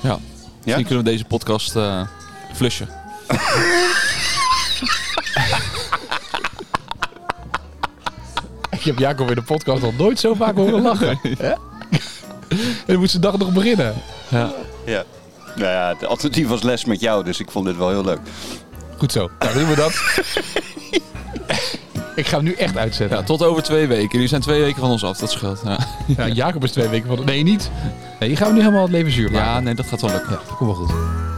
Speaker 2: Ja.
Speaker 3: Ja?
Speaker 2: Misschien kunnen we deze podcast eh flushen.
Speaker 1: Ik heb Jacob in de podcast al nooit zo vaak horen lachen. Hè? en dan moet zijn dag nog beginnen.
Speaker 3: ja. Nou ja, het alternatief was les met jou, dus ik vond dit wel heel leuk.
Speaker 1: Goed zo. Nou, dan doen we dat. Ik ga hem nu echt uitzetten.
Speaker 2: Ja, tot over twee weken. Jullie zijn twee weken van ons af, dat scheelt. Ja,
Speaker 1: Nou, Ja, Jacob is twee weken van... Nee, niet. Nee, je gaan we nu helemaal het leven zuur maken.
Speaker 2: ja nee, dat gaat wel lukken.
Speaker 1: Ja, dat komt wel goed.